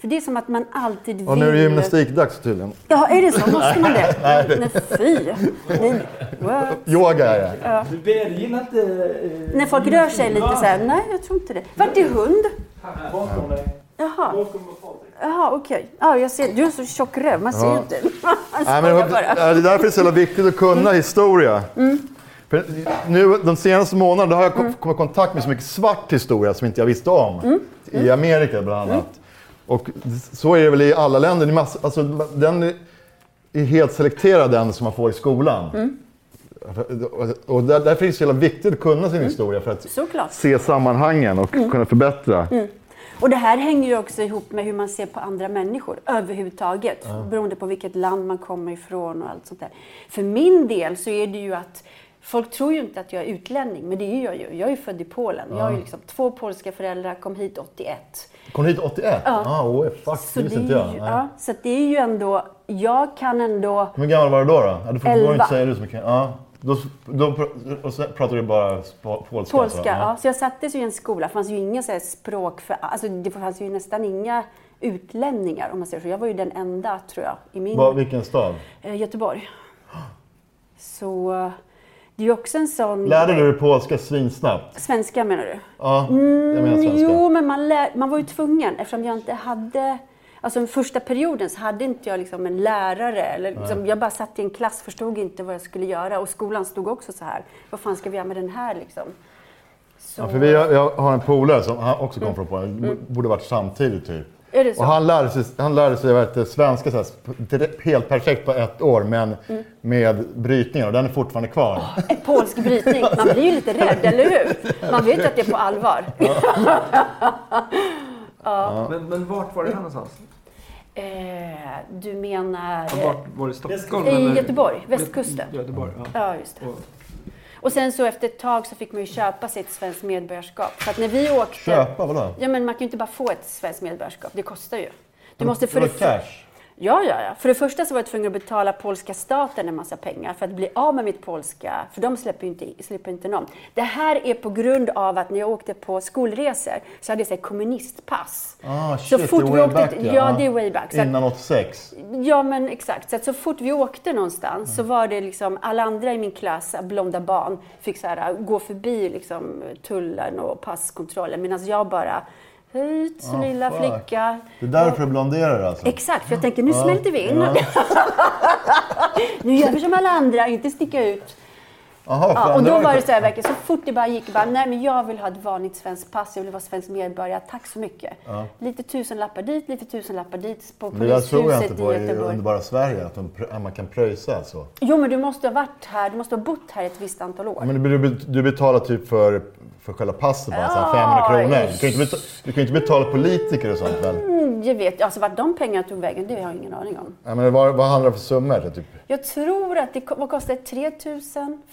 Speaker 4: För det är som att man alltid vill...
Speaker 3: Och nu är det gymnastikdags tydligen.
Speaker 4: Ja,
Speaker 3: [laughs]
Speaker 4: är det så? Måste man det? Nej, fy! Nej. Wow.
Speaker 3: Yoga är det.
Speaker 1: Du bergin inte... eh,
Speaker 4: När folk rör sig lite så här, nej jag tror inte det. Vart är hund?
Speaker 1: Här, eh, Bakom dig.
Speaker 4: Jaha,
Speaker 1: Bakom Patrik.
Speaker 4: jaha okej. Ja, jag ser, du är så tjock röv, man ser ju inte. Man
Speaker 3: Nej, men, det
Speaker 4: skojar bara. Mm.
Speaker 3: är därför det är så jävla viktigt att kunna historia. För nu, de senaste månaderna har jag kom-
Speaker 4: Mm.
Speaker 3: kommit i kontakt med så mycket svart historia som inte jag visste om.
Speaker 4: Mm.
Speaker 3: I Amerika bland annat. Och så är det väl i alla länder. Det är massa, alltså, den är helt selekterad, den som man får i skolan.
Speaker 4: Mm.
Speaker 3: Och där,
Speaker 4: Mm.
Speaker 3: därför är det så jävla viktigt att kunna sin historia för att
Speaker 4: Såklart.
Speaker 3: se
Speaker 4: Mm.
Speaker 3: sammanhangen och kunna förbättra.
Speaker 4: Och det här hänger ju också ihop med hur man ser på andra människor överhuvudtaget. Beroende på vilket land man kommer ifrån och allt sånt där. För min del så är det ju att Folk tror ju inte att jag är utlänning, men det är jag ju. Jag är född i Polen. Jag har ju liksom två polska föräldrar, kom hit 81.
Speaker 3: Kom du hit 81? Ja. Ah, oh, fuck,
Speaker 4: Så
Speaker 3: det
Speaker 4: det,
Speaker 3: visste
Speaker 4: är
Speaker 3: inte jag.
Speaker 4: ju,
Speaker 3: Nej.
Speaker 4: ja, så att det är ju ändå, jag kan ändå,
Speaker 3: Hur gammal var du då? då? Ja, Du får
Speaker 4: Elva.
Speaker 3: får inte säga det så mycket. Ja. Då, då, pr- och sen pratar du bara spa- polska?
Speaker 4: polska,
Speaker 3: alltså.
Speaker 4: ja. så jag sattes ju i en skola, det fanns ju inga så här språk för, alltså det fanns ju nästan inga utlänningar om man säger så. Jag var ju den enda tror jag i min,
Speaker 3: Var, vilken stad?
Speaker 4: eh, Göteborg. Så eh, det är ju också en sån
Speaker 3: Lärde du dig polska svinsnabbt?
Speaker 4: Svenska menar du?
Speaker 3: Ja, jag menar svenska.
Speaker 4: Mm, Jo, men man, lär, man var ju tvungen eftersom jag inte hade... Alltså den första perioden så hade inte jag liksom en lärare. Eller liksom, jag bara satt i en klass, förstod inte vad jag skulle göra. Och skolan stod också så här. Vad fan ska vi göra med den här liksom? Så,
Speaker 3: Ja, för vi, jag, jag har en polare som han också kom från Polen. Det Borde varit samtidigt typ.
Speaker 4: Är Mm. det så?
Speaker 3: Och han lärde sig, han lärde sig vad heter, det, svenska så här, direkt- helt perfekt på ett år, men
Speaker 4: Mm.
Speaker 3: med brytningar. Och den är fortfarande kvar.
Speaker 4: Ett polsk brytning. Man blir ju lite rädd, eller hur? Man vet ju att det är på allvar.
Speaker 6: Men, men vart var det här någonstans?
Speaker 4: Eh, du menar...
Speaker 6: Ja, Vart var det? Stockholm?
Speaker 4: Eh, I
Speaker 6: eller?
Speaker 4: Göteborg, västkusten.
Speaker 6: Göteborg, ja.
Speaker 4: Ja, just det.
Speaker 6: Och-
Speaker 4: Och sen så efter ett tag så fick man ju köpa sitt svenskt medborgarskap. För att när vi åkte...
Speaker 3: Köpa, vadå?
Speaker 4: Ja, men man kan ju inte bara få ett svenskt medborgarskap. Det kostar ju. Du måste
Speaker 3: Det
Speaker 4: för
Speaker 3: var
Speaker 4: det för...
Speaker 3: cash.
Speaker 4: Ja, ja, ja. För det första så var jag tvungen att betala polska staten en massa pengar för att bli av med mitt polska. För de släpper ju inte, släpper inte någon. Det här är på grund av att när jag åkte på skolresor så hade jag så här kommunistpass.
Speaker 3: Ah,
Speaker 4: Så
Speaker 3: shit,
Speaker 4: fort
Speaker 3: det är
Speaker 4: vi
Speaker 3: way
Speaker 4: åkte
Speaker 3: back,
Speaker 4: till- ja, det är way back, så att-
Speaker 3: Innan 86.
Speaker 4: Ja, men exakt. Så, att så fort vi åkte någonstans så var det liksom alla andra i min klass, blonda barn, fick så här, gå förbi liksom, tullen och passkontrollen medan jag bara Hit,
Speaker 3: Ah,
Speaker 4: lilla
Speaker 3: fuck.
Speaker 4: flicka.
Speaker 3: Det är därför du blonderar alltså?
Speaker 4: Exakt, för jag tänker nu smälter vi in. [laughs] nu gör vi som alla andra, inte sticka ut.
Speaker 3: Aha,
Speaker 4: Ja,
Speaker 3: fan,
Speaker 4: och då
Speaker 3: ju
Speaker 4: var det
Speaker 3: sjukt.
Speaker 4: så här verkligen, så fort det bara gick, jag bara, nej men jag vill ha ett vanligt svenskt pass, jag vill vara svensk medborgare, tack så mycket. Lite tusenlappar dit, lite tusenlappar dit, på
Speaker 3: Men Det där tror jag
Speaker 4: polishuset
Speaker 3: inte
Speaker 4: i
Speaker 3: på i
Speaker 4: Göteborg.
Speaker 3: underbara Sverige, att, de, pr- att man kan pröjsa alltså. så.
Speaker 4: Jo, men du måste ha varit här, du måste ha bott här ett visst antal år.
Speaker 3: Men du, du betalar typ för, för själva passet bara, så här 500 kronor. Du kan ju inte betala, du kan ju inte betala politiker och sånt väl?
Speaker 4: Mm, jag vet, alltså vart de pengarna tog vägen, det har jag ingen aning om.
Speaker 3: Ja, men vad, vad handlar det för summor? Typ?
Speaker 4: Jag tror att det ko- vad kostar det? 3 000?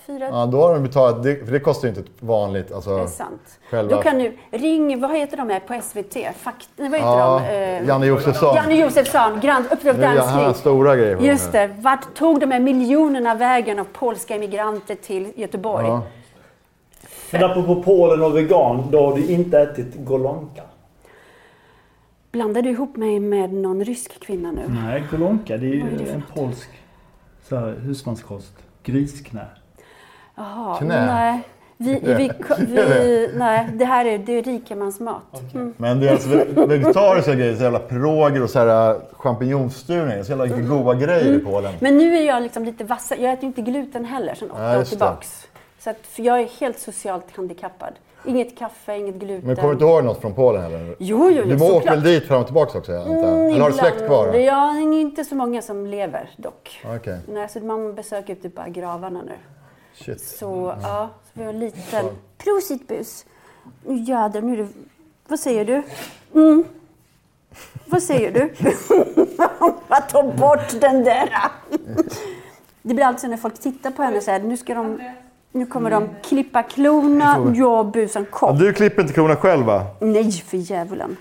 Speaker 4: 4 000?
Speaker 3: Ja, då har de betalat, det, för det kostar ju inte ett vanligt... Alltså,
Speaker 4: Det är sant.
Speaker 3: Själva-
Speaker 4: Då kan du, ring, vad heter de här på SVT? Fakt, nej, vad heter
Speaker 3: ja,
Speaker 4: de? Eh,
Speaker 3: Janne Josefsson.
Speaker 4: Janne Josefsson, Grand Uppdrag
Speaker 3: Nu gör han
Speaker 4: granskning.
Speaker 3: stora grejer. för
Speaker 4: Just
Speaker 3: mig.
Speaker 4: det, vart tog de här miljonerna vägen av polska immigranter till Göteborg?
Speaker 3: Ja.
Speaker 1: Men apropå Polen och vegan, då har du inte ätit golonka?
Speaker 4: Blandar du ihop mig med någon rysk kvinna nu?
Speaker 1: Nej, golonka det är
Speaker 4: Vad är
Speaker 1: ju
Speaker 4: det?
Speaker 1: en polsk så här, husmanskost. Grisknä.
Speaker 4: Jaha,
Speaker 3: Knä.
Speaker 4: nej. Vi,
Speaker 3: [laughs]
Speaker 4: vi, vi, nej, det här är, det är rikemansmat. Mm.
Speaker 3: Men deras ve- vegetariska grejer, så jävla piroger och så här, äh, champinjonstuvningar, så jävla goda grejer
Speaker 4: Mm.
Speaker 3: i Polen.
Speaker 4: Men nu är jag liksom lite vassare. Jag äter ju inte gluten heller sedan åtta
Speaker 3: Nej,
Speaker 4: år
Speaker 3: just det.
Speaker 4: tillbaks. Så att, för jag är helt socialt handikappad. Inget kaffe, inget gluten.
Speaker 3: Men kommer du inte ihåg något från Polen heller?
Speaker 4: Jo, jo, jo,
Speaker 3: Du åker
Speaker 4: såklart.
Speaker 3: väl dit fram och tillbaka också? Jag antar.
Speaker 4: Mm,
Speaker 3: Eller har du släkt
Speaker 4: ibland.
Speaker 3: kvar?
Speaker 4: Det är inte så många som lever dock.
Speaker 3: Okej,
Speaker 4: Nej, så man besöker ju typ bara gravarna nu.
Speaker 3: shit.
Speaker 4: Så ja, så vi har en liten... Prosit bus! Nu jädrar, nu är det... Vad säger du? Mm. Vad säger du? [laughs] Vad ta bort den där! det blir alltid så när folk tittar på henne så här, nu ska de... Nu kommer de
Speaker 3: Mm.
Speaker 4: klippa klorna, jag busan kom.
Speaker 3: Du klipper inte kronan själv va?
Speaker 4: Nej, för djävulen.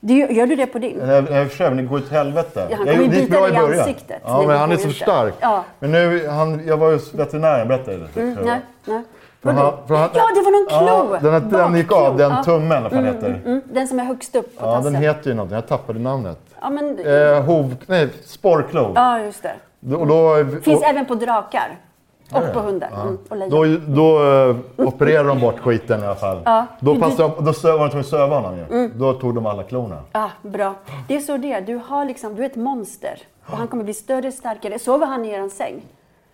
Speaker 4: Det, gör du det på din?
Speaker 3: Jag, jag försöker, men det går åt helvete.
Speaker 4: Ja, han
Speaker 3: jag,
Speaker 4: kommer ju
Speaker 3: det gick
Speaker 4: bita
Speaker 3: bra
Speaker 4: dig i
Speaker 3: början.
Speaker 4: ansiktet.
Speaker 3: Ja,
Speaker 4: Det
Speaker 3: men han är
Speaker 4: går ju
Speaker 3: så
Speaker 4: inte.
Speaker 3: stark.
Speaker 4: Ja.
Speaker 3: Men nu, han, jag var hos veterinären, berättade jag det?
Speaker 4: Mm, nej, nej.
Speaker 3: För han-
Speaker 4: Vadå?
Speaker 3: för han-
Speaker 4: ja, det var någon klo!
Speaker 3: Ja, den, här- den gick
Speaker 4: Bakklo.
Speaker 3: av, den
Speaker 4: Ja.
Speaker 3: tummen eller vad den heter.
Speaker 4: Mm, den som är högst upp på
Speaker 3: Ja,
Speaker 4: tassen.
Speaker 3: den heter ju någonting. Jag tappade namnet.
Speaker 4: ja, men,
Speaker 3: Eh, hov... Nej, sporrklo.
Speaker 4: ja, just det.
Speaker 3: Och då,
Speaker 4: Finns
Speaker 3: och,
Speaker 4: även på drakar. Och på hundar. Mm, och
Speaker 3: då,
Speaker 4: lejon.
Speaker 3: då eh, opererade de bort skiten i alla fall. Då,
Speaker 4: Mm.
Speaker 3: passade de, då söv, var de tvungna att söva honom ju. Då tog de alla klorna.
Speaker 4: Ah, bra. Det är så det är. Du, har liksom, du är ett monster. Och han kommer bli större, starkare. Sover han i er säng?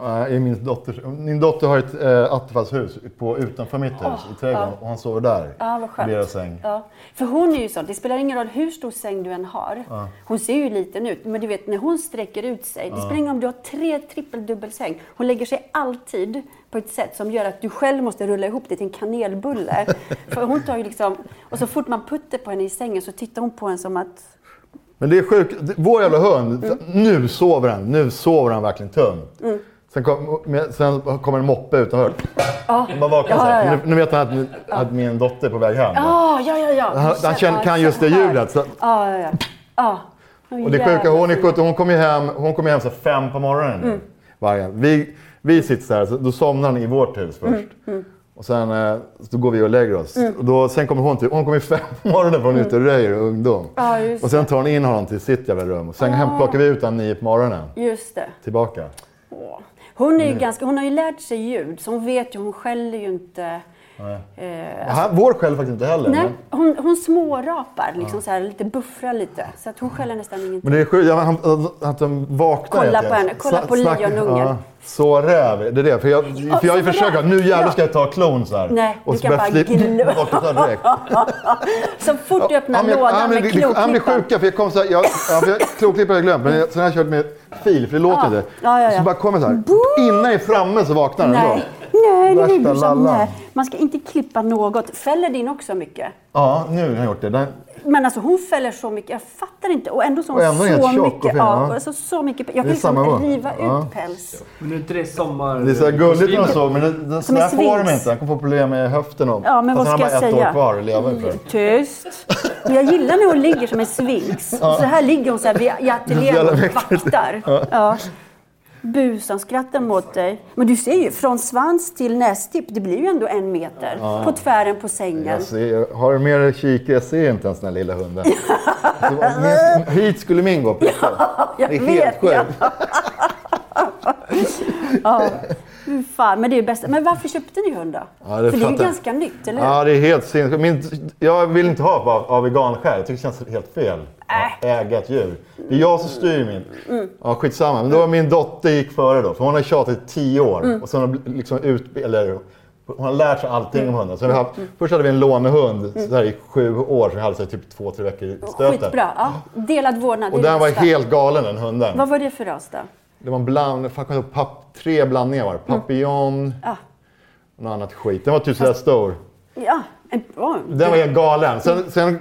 Speaker 3: Nej, i min dotters... Min dotter har ett eh, attefallshus på, utanför mitt hus, i trädgården. Och han sover där.
Speaker 4: Ja, vad
Speaker 3: I
Speaker 4: skönt.
Speaker 3: deras säng.
Speaker 4: Ja, för hon är ju sån. Det spelar ingen roll hur stor säng du än har. Hon ser ju liten ut, men du vet när hon sträcker ut sig. Det spelar ingen roll om du har tre trippeldubbelsäng. Hon lägger sig alltid på ett sätt som gör att du själv måste rulla ihop dig till en
Speaker 3: [laughs]
Speaker 4: kanelbulle. för hon tar ju liksom... Och så fort man putter på henne i sängen så tittar hon på en som att...
Speaker 3: Men det är sjukt. Det- Vår jävla hund,
Speaker 4: Mm.
Speaker 3: nu sover han. Nu sover han verkligen tungt. Sen, kom, men- sen kommer en moppe utanför.
Speaker 4: Ja,
Speaker 3: Man vaknar
Speaker 4: Ja,
Speaker 3: så här.
Speaker 4: ja, ja.
Speaker 3: Nu, nu vet han att, att min dotter är på väg hem.
Speaker 4: Ah, ja, ja, ja.
Speaker 3: Han, han känner, kan just det ljudet. Så,
Speaker 4: Ja, ja, ja. Ah.
Speaker 3: och det sjuka, hon är 17, hon kommer ju hem, hon kommer hem så här fem på morgonen.
Speaker 4: Mm.
Speaker 3: Varje. Vi, vi sitter så här, så då somnar han i vårt hus
Speaker 4: Mm,
Speaker 3: först. Och sen eh, så då går vi och lägger oss. Och då, sen kommer hon till, hon kommer ju fem på morgonen för hon är ute och röjer och ungdom.
Speaker 4: Ja, Mm. just Ah.
Speaker 3: Och sen tar hon in honom till sitt jävla rum. Och sen hem, plockar vi ut honom nio på morgonen.
Speaker 4: Just det.
Speaker 3: Tillbaka.
Speaker 4: Åh. Hon, är
Speaker 3: Mm.
Speaker 4: ju ganska, hon har ju lärt sig ljud, så hon vet ju, hon skäller ju inte. Eh,
Speaker 3: Han, vår skäller faktiskt inte heller.
Speaker 4: nej,
Speaker 3: Men,
Speaker 4: hon, hon smårapar, liksom så här, lite buffrar lite. Så att hon skäller nästan ingenting.
Speaker 3: men det är sjukt, ja, men han, han- att de vaknar.
Speaker 4: Kolla
Speaker 3: helt
Speaker 4: på henne,
Speaker 3: enkelt.
Speaker 4: kolla
Speaker 3: Sna-
Speaker 4: på
Speaker 3: snack-
Speaker 4: lejonungen.
Speaker 3: Ja, så räv, det är det. För jag, för jag har ju
Speaker 4: så
Speaker 3: försökt,
Speaker 4: räv.
Speaker 3: nu jävlar
Speaker 4: Ja.
Speaker 3: ska jag ta klon så här.
Speaker 4: Nej,
Speaker 3: och
Speaker 4: du
Speaker 3: så
Speaker 4: kan bara
Speaker 3: plötsligt- [laughs]
Speaker 4: glo-
Speaker 3: bort och ta direkt.
Speaker 4: Så fort du öppnar
Speaker 3: Ja, men jag-
Speaker 4: lådan
Speaker 3: ja, men
Speaker 4: med
Speaker 3: vi- vi- Ja, men det
Speaker 4: kloknippan.
Speaker 3: sjuka, för jag kom så här, jag, ja, för jag, klokklippare har jag glömt, men jag, sen har jag kört med fil, för det låter
Speaker 4: Ja.
Speaker 3: inte.
Speaker 4: Ja, ja, ja.
Speaker 3: Så bara kommer så här,
Speaker 4: Boop!
Speaker 3: innan jag är framme så vaknar den ändå.
Speaker 4: Nej, nej, det
Speaker 3: Värsta
Speaker 4: är du som
Speaker 3: lallan.
Speaker 4: nej. Man ska inte klippa något. Fäller din också mycket?
Speaker 3: Ja, nu har jag gjort det. Den,
Speaker 4: Men alltså hon fäller så mycket, jag fattar inte. Och ändå så har
Speaker 3: Och
Speaker 4: hon
Speaker 3: ändå är helt
Speaker 4: så
Speaker 3: tjock och
Speaker 4: mycket.
Speaker 3: fin,
Speaker 4: Ja,
Speaker 3: ja.
Speaker 4: alltså, så mycket. Jag kan
Speaker 3: är samma
Speaker 4: liksom
Speaker 3: sak.
Speaker 4: riva
Speaker 3: Ja.
Speaker 4: ut päls.
Speaker 6: Men är inte det sommar...
Speaker 3: det är så här gulligt när de sover, men den, den,
Speaker 4: Som en
Speaker 3: den får de
Speaker 4: svins.
Speaker 3: inte. Han kommer få problem med höften om.
Speaker 4: Ja, men vad
Speaker 3: han har
Speaker 4: ska
Speaker 3: bara
Speaker 4: jag
Speaker 3: ett
Speaker 4: säga? Mm.
Speaker 3: år kvar att leva för.
Speaker 4: Tyst. Men jag gillar när hon ligger som en sphinx. Så här ligger hon så här vid- i ateljén
Speaker 3: jävla
Speaker 4: och
Speaker 3: mäktigt.
Speaker 4: vaktar. Ja. Busan skrattar mot dig. Men du ser ju, från svans till nästipp, det blir ju ändå en meter. På tvären på sängen.
Speaker 3: Jag ser, har du med dig kikare? Jag ser inte ens den här lilla hunden. Så, min, hit skulle min gå. Ja,
Speaker 4: jag
Speaker 3: det är
Speaker 4: vet,
Speaker 3: helt sjukt.
Speaker 4: Fy Fan, men det är det bästa. Men varför köpte ni hund då?
Speaker 3: Ja, det
Speaker 4: För det är ju
Speaker 3: fattar jag.
Speaker 4: ganska nytt, eller hur?
Speaker 3: Ja, det är helt sinnessjukt. Min- Jag vill inte ha av, av veganskäl. Jag tycker det känns helt
Speaker 4: Äh.
Speaker 3: fel. Att äga ett djur. Det är jag som styr min.
Speaker 4: Mm.
Speaker 3: Ja, skitsamma. Men då var min dotter gick före då. För hon har tjatat i tio år.
Speaker 4: Mm.
Speaker 3: Och sen har hon bl- liksom ut, eller, hon har lärt sig allting
Speaker 4: Mm.
Speaker 3: om hundar. Så vi har, haft- Först hade vi en lånehund så här, i sju år. Som vi hade så här, typ två, tre veckor i stöten.
Speaker 4: Skitbra. Ja. Delad vårdnad,
Speaker 3: Och
Speaker 4: det är
Speaker 3: den
Speaker 4: det
Speaker 3: var
Speaker 4: bästa.
Speaker 3: helt galen den hunden.
Speaker 4: Vad var det för ras då?
Speaker 3: Det var en bland, fan, jag kommer inte ihåg, papp, tre blandningar var det. Papillon,
Speaker 4: Ja.
Speaker 3: något annat skit. Den var typ sådär stor.
Speaker 4: Ja, en, oh.
Speaker 3: Den var helt galen. Sen, sen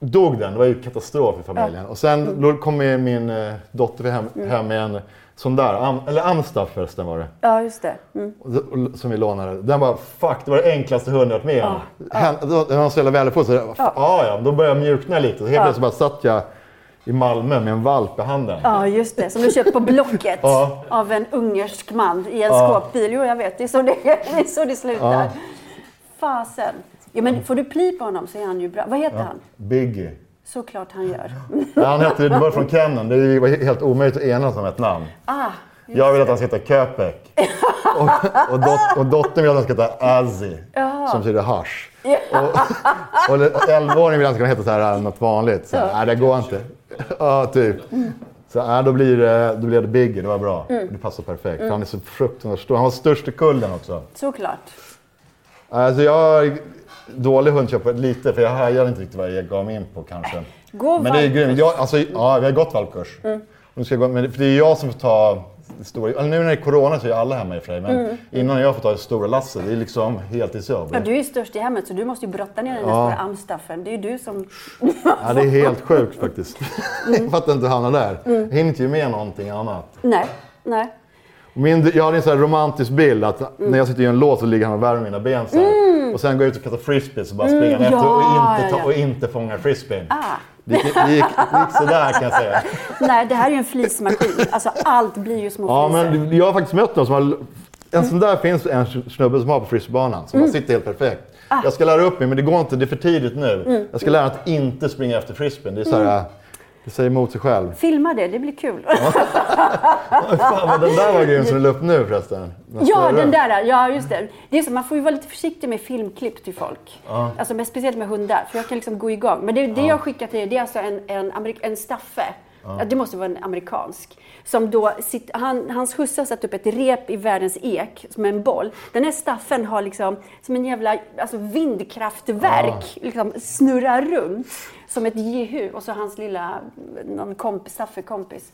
Speaker 3: dog den. Det var ju katastrof i familjen. Och sen då kom ju min eh, dotter hem, hem med en sån där, am, eller Amstaff förresten var det,
Speaker 4: ja just det. Mm.
Speaker 3: Och så- och- som vi lånade. Den bara fuck, det var det enklaste hunden jag varit med om. Hen- då- Den var så jävla välfotad. Ja. "Ah, ja, ja, då började jag mjukna lite. Så helt plötsligt bara satt jag i Malmö med en valp i handen.
Speaker 4: Ja, just det. Som du köpt på Blocket
Speaker 3: Ja.
Speaker 4: av en ungersk man i en skåpbil. Jo, jag vet. Det är så det, [laughs] det, är så det slutar.
Speaker 3: Ja.
Speaker 4: Fasen. Ja, men får du pli på honom så är han ju bra. Vad heter han?
Speaker 3: Biggie.
Speaker 4: Såklart han gör.
Speaker 3: Ja, Han hette, det var från kenneln. Det var helt omöjligt att enas om ett namn.
Speaker 4: Ah,
Speaker 3: Jag vill att han ska heta Köpek. Och, och, dot, och dottern vill att han ska heta Azzi, som betyder hasch. Och, och elvaåringen vill att han ska heta så här, något vanligt. Så här, Nej, det går inte. Ja, typ. Så här, då, blir det, då blir det Biggie, det var bra. Det passar perfekt. Han är så fruktansvärt stor. Han var störst i kullen också.
Speaker 4: såklart.
Speaker 3: Alltså jag är dålig hundköpare, lite, för jag hajar inte riktigt vad jag gav mig in på kanske.
Speaker 4: Gå
Speaker 3: Men det är
Speaker 4: valpkurs.
Speaker 3: grymt. Jag, alltså, ja, vi har gått valpkurs.
Speaker 4: Mm.
Speaker 3: Nu ska jag gå, men det, för det är jag som får ta det stora... Eller nu när det är corona så är alla hemma i och för sig, men innan jag får ta det stora lasset, det är liksom heltidsjobb.
Speaker 4: Mm. Ja, du är ju störst i hemmet så du måste ju brotta ner den där
Speaker 3: Ja.
Speaker 4: stora amstaffen. Det är ju du som...
Speaker 3: Ja, det är helt sjukt faktiskt. [laughs]
Speaker 4: Mm.
Speaker 3: jag fattar inte hur jag hamnade där. Jag hinner inte ju med någonting annat.
Speaker 4: Nej, nej.
Speaker 3: Min, jag hade en sån här romantisk bild att
Speaker 4: Mm.
Speaker 3: när jag sitter i en låt så ligger han och värmer mina ben så här. Och sen går jag ut och kastar frisbees och bara springer
Speaker 4: Mm,
Speaker 3: efter och
Speaker 4: ja,
Speaker 3: inte,
Speaker 4: ja,
Speaker 3: ta,
Speaker 4: ja.
Speaker 3: och inte fångar frisbeen.
Speaker 4: Ah.
Speaker 3: Det gick, det gick, det gick sådär kan jag säga.
Speaker 4: Nej, det här är ju en flismaskin. Alltså allt blir ju små
Speaker 3: Ja,
Speaker 4: flisor.
Speaker 3: men jag har faktiskt mött någon som har... En sån där finns en snubbe som har på frisbeebanan
Speaker 4: Mm.
Speaker 3: som bara sitter helt perfekt.
Speaker 4: Ah.
Speaker 3: Jag ska lära upp mig, men det går inte. Det är för tidigt nu.
Speaker 4: Mm.
Speaker 3: Jag ska lära mig att inte springa efter frisbeen. Det är så här, det säger emot sig själv.
Speaker 4: Filma det, det blir kul.
Speaker 3: Fan, men den där var grym som du la upp nu förresten.
Speaker 4: Ah. Ja,
Speaker 3: större.
Speaker 4: den där. Ja, just det. det är så, man får ju vara lite försiktig med filmklipp till folk. Alltså, men speciellt med hundar, för jag kan liksom gå igång. Men det, det jag skickar till er, det är alltså en, en, amerik- en staffe Ja, det måste vara en amerikansk. Som då, sitt, han, hans husse har satt upp ett rep i världens ek, som en boll. Den här staffen har liksom, som en jävla alltså vindkraftverk, liksom snurrar runt. Som ett jehu. Och så hans lilla, någon kompis, Staffe-kompis.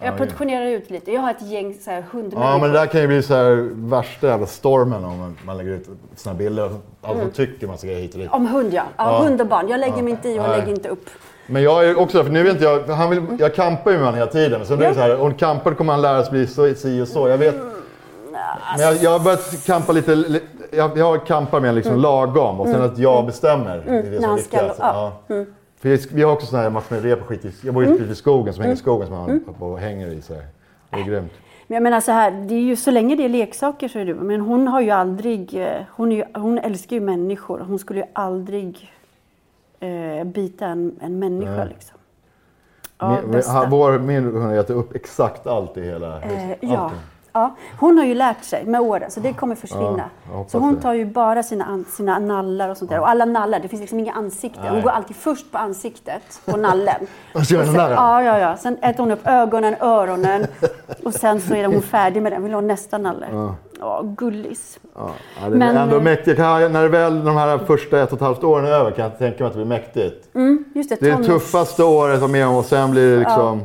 Speaker 4: Jag portionerar ut lite. Jag har ett gäng så här hundmänniskor.
Speaker 3: Ja, men det där kan ju bli så här värsta jävla stormen om man- man lägger ut såna här bilder. Alla
Speaker 4: Mm.
Speaker 3: som tycker massa grejer hit och dit.
Speaker 4: Om hund, ja. ja. Hund och barn. Jag lägger mig inte i och
Speaker 3: Nej.
Speaker 4: lägger inte upp.
Speaker 3: Men jag är också, för nu vet inte jag, han vill, jag kampar ju med honom hela tiden. Så nu är det så här, om kampar kommer han lära sig bli så, si och så. Jag vet. Men jag,
Speaker 4: alltså.
Speaker 3: jag har börjat kampa lite, li- jag, jag kampar med liksom lagom och sen att jag bestämmer. Det är det
Speaker 4: Mm. När
Speaker 3: som är
Speaker 4: han ska- Mm.
Speaker 3: viktigast. Ja. För vi- vi har också såna här massor med rep och skit i, jag bor ju i skogen som hänger i
Speaker 4: Mm.
Speaker 3: skogen som han hoppar och hänger i sig. Det är grymt.
Speaker 4: Men jag menar så här, det är ju, så länge det är leksaker så är det Men hon har ju aldrig, eh, hon, är ju, hon älskar ju människor. Hon skulle ju aldrig eh, bita en, en människa
Speaker 3: Nej.
Speaker 4: liksom. Ja,
Speaker 3: min,
Speaker 4: bästa.
Speaker 3: han, vår, min hund har ätit upp exakt allt i hela
Speaker 4: Eh,
Speaker 3: huset.
Speaker 4: ja.
Speaker 3: Allting.
Speaker 4: ja. Hon har ju lärt sig med åren, så det kommer försvinna.
Speaker 3: Ja, jag hoppas
Speaker 4: så hon
Speaker 3: det.
Speaker 4: tar ju bara sina, an- sina nallar och sånt där. Och alla nallar, det finns liksom inga ansikten. Hon
Speaker 3: Nej.
Speaker 4: går alltid först på ansiktet, på nallen.
Speaker 3: Och så gör
Speaker 4: sen,
Speaker 3: den där.
Speaker 4: ja, ja, ja. Sen äter hon upp ögonen, öronen och sen så är hon färdig med den. Vill ha nästa nalle. Ja, gullis.
Speaker 3: Ja, ja, det är
Speaker 4: Men,
Speaker 3: ändå
Speaker 4: eh,
Speaker 3: mäktigt. Kan jag, när väl de här första ett och ett halvt åren är över kan jag tänka mig att det blir mäktigt.
Speaker 4: Mm, Just det,
Speaker 3: Det är det
Speaker 4: tonårs-
Speaker 3: tuffaste året och med om och sen blir det liksom...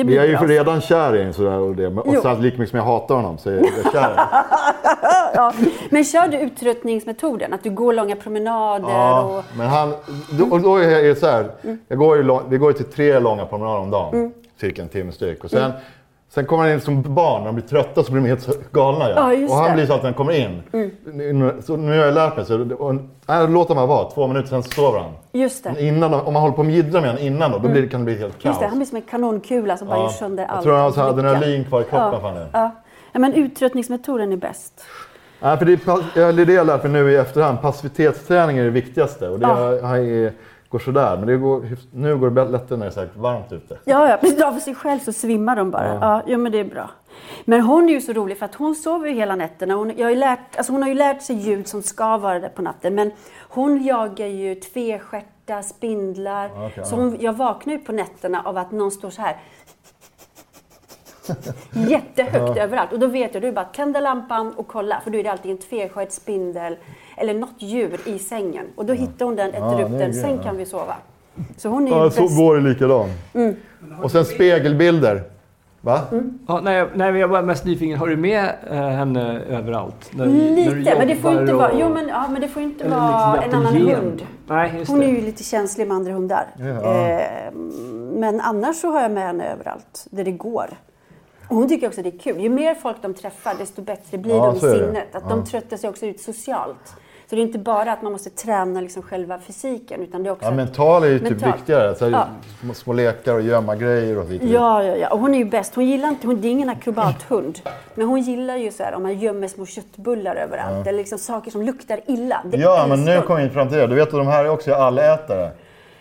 Speaker 3: Jag är
Speaker 4: blir
Speaker 3: ju
Speaker 4: bra.
Speaker 3: redan kär i honom sådär och det. men- Och
Speaker 4: Jo.
Speaker 3: sen lika mycket som jag hatar honom så är jag kär
Speaker 4: [laughs]
Speaker 3: i honom.
Speaker 4: Ja. Men kör du uttröttningsmetoden? Att du går långa promenader
Speaker 3: Ja,
Speaker 4: och...
Speaker 3: men han... då- Och då är det så här. Jag går ju lång, vi går ju till tre långa promenader om dagen.
Speaker 4: Mm.
Speaker 3: Cirka en timme styck. Och sen, sen kommer han in som barn. När de blir trötta så blir de helt så- galna. Ja.
Speaker 4: Ja, just
Speaker 3: och han
Speaker 4: det. Mm.
Speaker 3: blir så att när han kommer in. Nu, så nu har jag lärt mig. Så, och, nej, låt dem här vara. Två minuter, sen sover han.
Speaker 4: Just det.
Speaker 3: Men Innan, om man håller på och jiddrar med honom innan då, då blir, det- kan det bli helt kaos.
Speaker 4: Mm. Just det, han blir som en kanonkula som bara gör sönder allt.
Speaker 3: jag tror han har så här adrenalin kvar i
Speaker 4: Ja.
Speaker 3: kroppen. Fan, nu.
Speaker 4: Ja. ja, men uttröttningsmetoden är bäst.
Speaker 3: Nej, för det, är pass- eller det jag lärt mig nu i efterhand. Passivitetsträning är det viktigaste. Och det
Speaker 4: Ja.
Speaker 3: har- har- är, går sådär. Men det går, hyfs- nu går det bä- lättare när det är så här varmt ute.
Speaker 4: Ja, ja. Men drar för sig själv så svimmar de bara. Ja. Ja, men det är bra. Men hon är ju så rolig för att hon sover ju hela nätterna. Hon, jag har, ju lärt, alltså hon har ju lärt sig ljud som ska vara där på natten. Men hon jagar ju tvestjärtar, spindlar.
Speaker 3: Okej,
Speaker 4: så
Speaker 3: ja.
Speaker 4: hon, jag vaknar ju på nätterna av att någon står så här. [laughs] Jättehögt överallt. Och då vet jag, du bara tända lampan och kolla. För då är det alltid en tvestjärt, spindel eller något djur i sängen. Och då hittar hon den, äter
Speaker 3: Ja, det
Speaker 4: upp
Speaker 3: är
Speaker 4: den.
Speaker 3: grej,
Speaker 4: Sen
Speaker 3: ja.
Speaker 4: kan vi sova. Så hon är Mm. ju
Speaker 3: Ja,
Speaker 4: bäst.
Speaker 3: så går det likadan. Och sen spegelbilder. Va?
Speaker 4: Mm.
Speaker 6: Ja, nej, jag- nej, men jag var mest nyfiken. Har du med eh, henne överallt? När,
Speaker 4: Lite, men det får ju inte
Speaker 6: jobbar
Speaker 4: vara,
Speaker 6: och-
Speaker 4: jo, men, ja, men det får ju inte
Speaker 6: eller
Speaker 4: vara
Speaker 6: liksom
Speaker 4: en annan
Speaker 6: vattengen?
Speaker 4: hund.
Speaker 6: Nej, just
Speaker 4: Hon är
Speaker 6: det.
Speaker 4: ju lite känslig med andra hundar.
Speaker 3: Ja.
Speaker 4: Eh, men annars så har jag med henne överallt där det går. Och hon tycker också det är kul. Ju mer folk de träffar, desto bättre blir
Speaker 3: Ja,
Speaker 4: de i
Speaker 3: så är det.
Speaker 4: sinnet. Att De tröttar sig också ut socialt. Så det är inte bara att man måste träna liksom själva fysiken, utan det är också...
Speaker 3: Ja, mental är ju typ
Speaker 4: Mental.
Speaker 3: viktigare. Så här,
Speaker 4: Ja.
Speaker 3: små, små lekar och gömma grejer och lite.
Speaker 4: Ja, ja, ja. Och hon är ju bäst. Hon gillar inte, hon, det är ingen akrobathund. Men hon gillar ju så här om man gömmer små köttbullar överallt. Eller liksom saker som luktar illa. Det
Speaker 3: ja men
Speaker 4: älskar
Speaker 3: nu
Speaker 4: hon.
Speaker 3: kommer vi in fram till det. Du vet att de här är också allätare.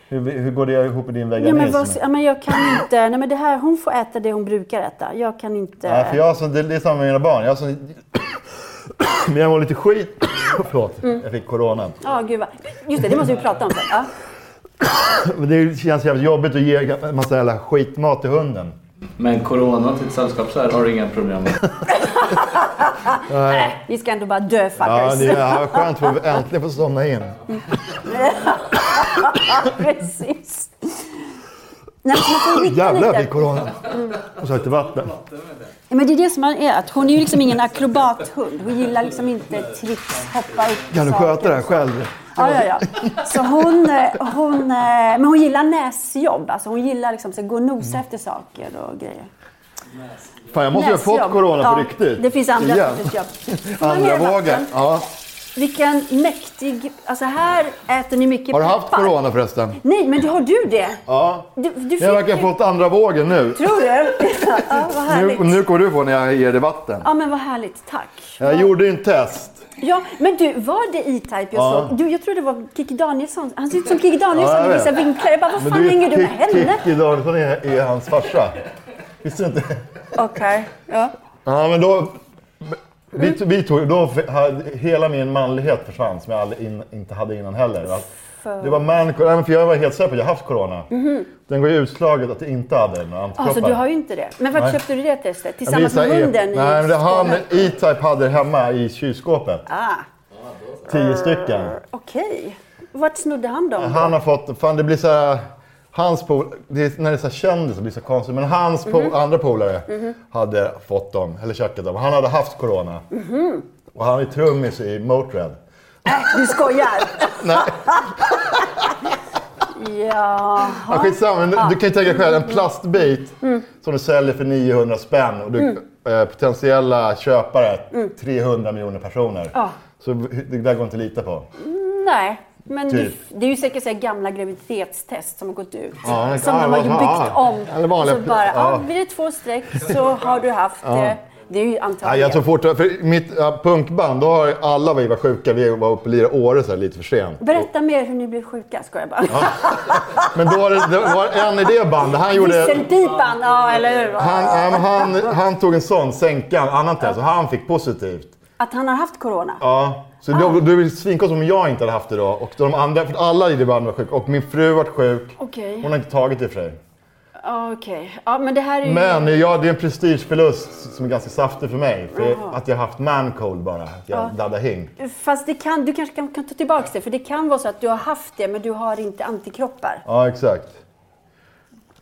Speaker 3: Hur, hur går det ihop i din
Speaker 4: Ja,
Speaker 3: veganism?
Speaker 4: men vad, ja, men jag kan inte. Nej, men det här, hon får äta det hon brukar äta. Jag kan inte.
Speaker 3: Nej, för jag har sån- det, det är samma med mina barn. Jag har sån- [coughs] men jag mår lite skit. [coughs] Förlåt,
Speaker 4: Mm.
Speaker 3: jag fick corona.
Speaker 4: Ja, gud vad. Just det, det måste vi prata om sen. Ja.
Speaker 3: Men det känns jävligt jobbigt att ge en massa jävla skitmat till hunden.
Speaker 7: Men corona till ett sällskap så här har du inga problem med.
Speaker 4: Nej, vi ska ändå bara dö
Speaker 3: Ja,
Speaker 4: fuckers. [laughs]
Speaker 3: det är skönt att äntligen få somna in.
Speaker 4: Precis. Nej, men man får hitta
Speaker 3: Jävlar, jag fick
Speaker 4: lite.
Speaker 3: corona. Och så lite vatten.
Speaker 4: Ja, men det är det som man är. Att hon är ju liksom ingen akrobathund. Hon gillar liksom inte tricks, hoppa upp.
Speaker 3: Kan du
Speaker 4: saker.
Speaker 3: sköta det här själv?
Speaker 4: Ja, ja, ja. Så hon, eh, hon, eh, men hon gillar näsjobb. Alltså hon gillar liksom att gå och nosa
Speaker 3: Mm.
Speaker 4: efter saker och grejer.
Speaker 3: Fan, jag måste ju ha
Speaker 4: Näsjobb.
Speaker 3: fått corona på
Speaker 4: Ja,
Speaker 3: riktigt.
Speaker 4: Det finns andra
Speaker 3: Igen.
Speaker 4: sorters
Speaker 3: [laughs]
Speaker 4: jobb. Får man
Speaker 3: Andra
Speaker 4: mer vatten?
Speaker 3: vågen. Ja.
Speaker 4: Vilken mäktig... Alltså här äter ni mycket
Speaker 3: Har du haft
Speaker 4: peppar.
Speaker 3: corona förresten?
Speaker 4: Nej, men har du det?
Speaker 3: Ja.
Speaker 4: Du, du
Speaker 3: Jag verkar
Speaker 4: ju-
Speaker 3: ha fått andra vågen nu. [laughs]
Speaker 4: Tror du? ja, vad
Speaker 3: nu.
Speaker 4: härligt.
Speaker 3: Nu kommer du få när jag ger dig vatten.
Speaker 4: Ja, men vad härligt. Tack.
Speaker 3: Jag gjorde ju en test.
Speaker 4: Ja, men du, var det E-Type jag
Speaker 3: Ja.
Speaker 4: såg? Du, jag tror det var Kikki Danielsson. Han ser ut som Kikki Danielsson
Speaker 3: Ja, jag
Speaker 4: i vissa
Speaker 3: vet.
Speaker 4: vinklar. Jag bara, vad
Speaker 3: Men
Speaker 4: fan
Speaker 3: du
Speaker 4: hänger
Speaker 3: vet,
Speaker 4: du med
Speaker 3: Kick-
Speaker 4: henne?
Speaker 3: Kikki Danielsson är, är hans farsa. Visste du inte?
Speaker 4: Okej, ja.
Speaker 3: Ja, men då... Vi, vi tog, då f- hade, hela min manlighet försvann som jag aldrig in, inte hade innan heller. va?
Speaker 4: för...
Speaker 3: Det var manko, nej men för jag var helt säker på att jag haft corona. Den går ju utslaget att jag inte hade några antikroppar.
Speaker 4: Alltså Mhm. du har ju inte det. Men vart
Speaker 3: Nej.
Speaker 4: köpte du det testet?
Speaker 3: Jag
Speaker 4: Tillsammans med
Speaker 3: visar E-
Speaker 4: hunden? i
Speaker 3: Nej, men det han,
Speaker 4: Skåne?
Speaker 3: E-Type hade det hemma i kylskåpet.
Speaker 4: Ah,
Speaker 3: Tio stycken.
Speaker 4: Okej. Vart snodde han dem?
Speaker 3: Han har fått, fan det blir så här, hans pol, det är, när det är så här kändisar blir det så konstigt, men hans pol,
Speaker 4: Mhm.
Speaker 3: andra polare hade fått dem, eller kökat dem. Han hade haft corona.
Speaker 4: Mhm.
Speaker 3: Och han är trummis i Motörhead.
Speaker 4: Du skojar? ja.
Speaker 3: Ja, Mm. skitsamma, men du, du kan ju tänka dig själv, en plastbit som du säljer för 900 spänn och du, eh, potentiella köpare, 300 miljoner personer.
Speaker 4: Ja.
Speaker 3: Så v- det där går inte att lita på.
Speaker 4: Nej. Men
Speaker 3: Typ.
Speaker 4: det, det är ju säkert så här gamla graviditetstest som har gått ut.
Speaker 3: Ja,
Speaker 4: som
Speaker 3: ja,
Speaker 4: de har ju
Speaker 3: ja,
Speaker 4: byggt
Speaker 3: ja.
Speaker 4: om.
Speaker 3: Eller vanliga-
Speaker 4: så bara, ja.
Speaker 3: ja.
Speaker 4: blir det två streck så har du haft det. Det är ju
Speaker 3: Nej,
Speaker 4: antagligen.
Speaker 3: jag tror fortfarande, för mitt ja, punkband, då har alla vi var sjuka, vi var uppe och lirade Åre så här, lite för sent.
Speaker 4: Berätta mer hur ni blev sjuka, skojar bara.
Speaker 3: Men då var det, det var en i det bandet, han gjorde...
Speaker 4: Visselpipan, ja eller hur?
Speaker 3: Han, han, han, han tog en sån, sänkan, annan test, och han fick positivt.
Speaker 4: Att han har haft corona.
Speaker 3: Ja, så då, då är det svinkonstigt om jag inte hade haft det då. Och de andra, för alla i det bandet var sjuka. Och min fru var sjuk.
Speaker 4: Okej.
Speaker 3: Hon har inte tagit det i och för sig.
Speaker 4: Ja, Okej. Ja, men det här är ju...
Speaker 3: Men ja, det är en prestigeförlust som är ganska saftig för mig. För att jag har haft mancold bara. Att jag daddar hink.
Speaker 4: Fast det kan, du kanske kan, kan ta tillbaka det, för det kan vara så att du har haft det, men du har inte antikroppar.
Speaker 3: Ja, exakt.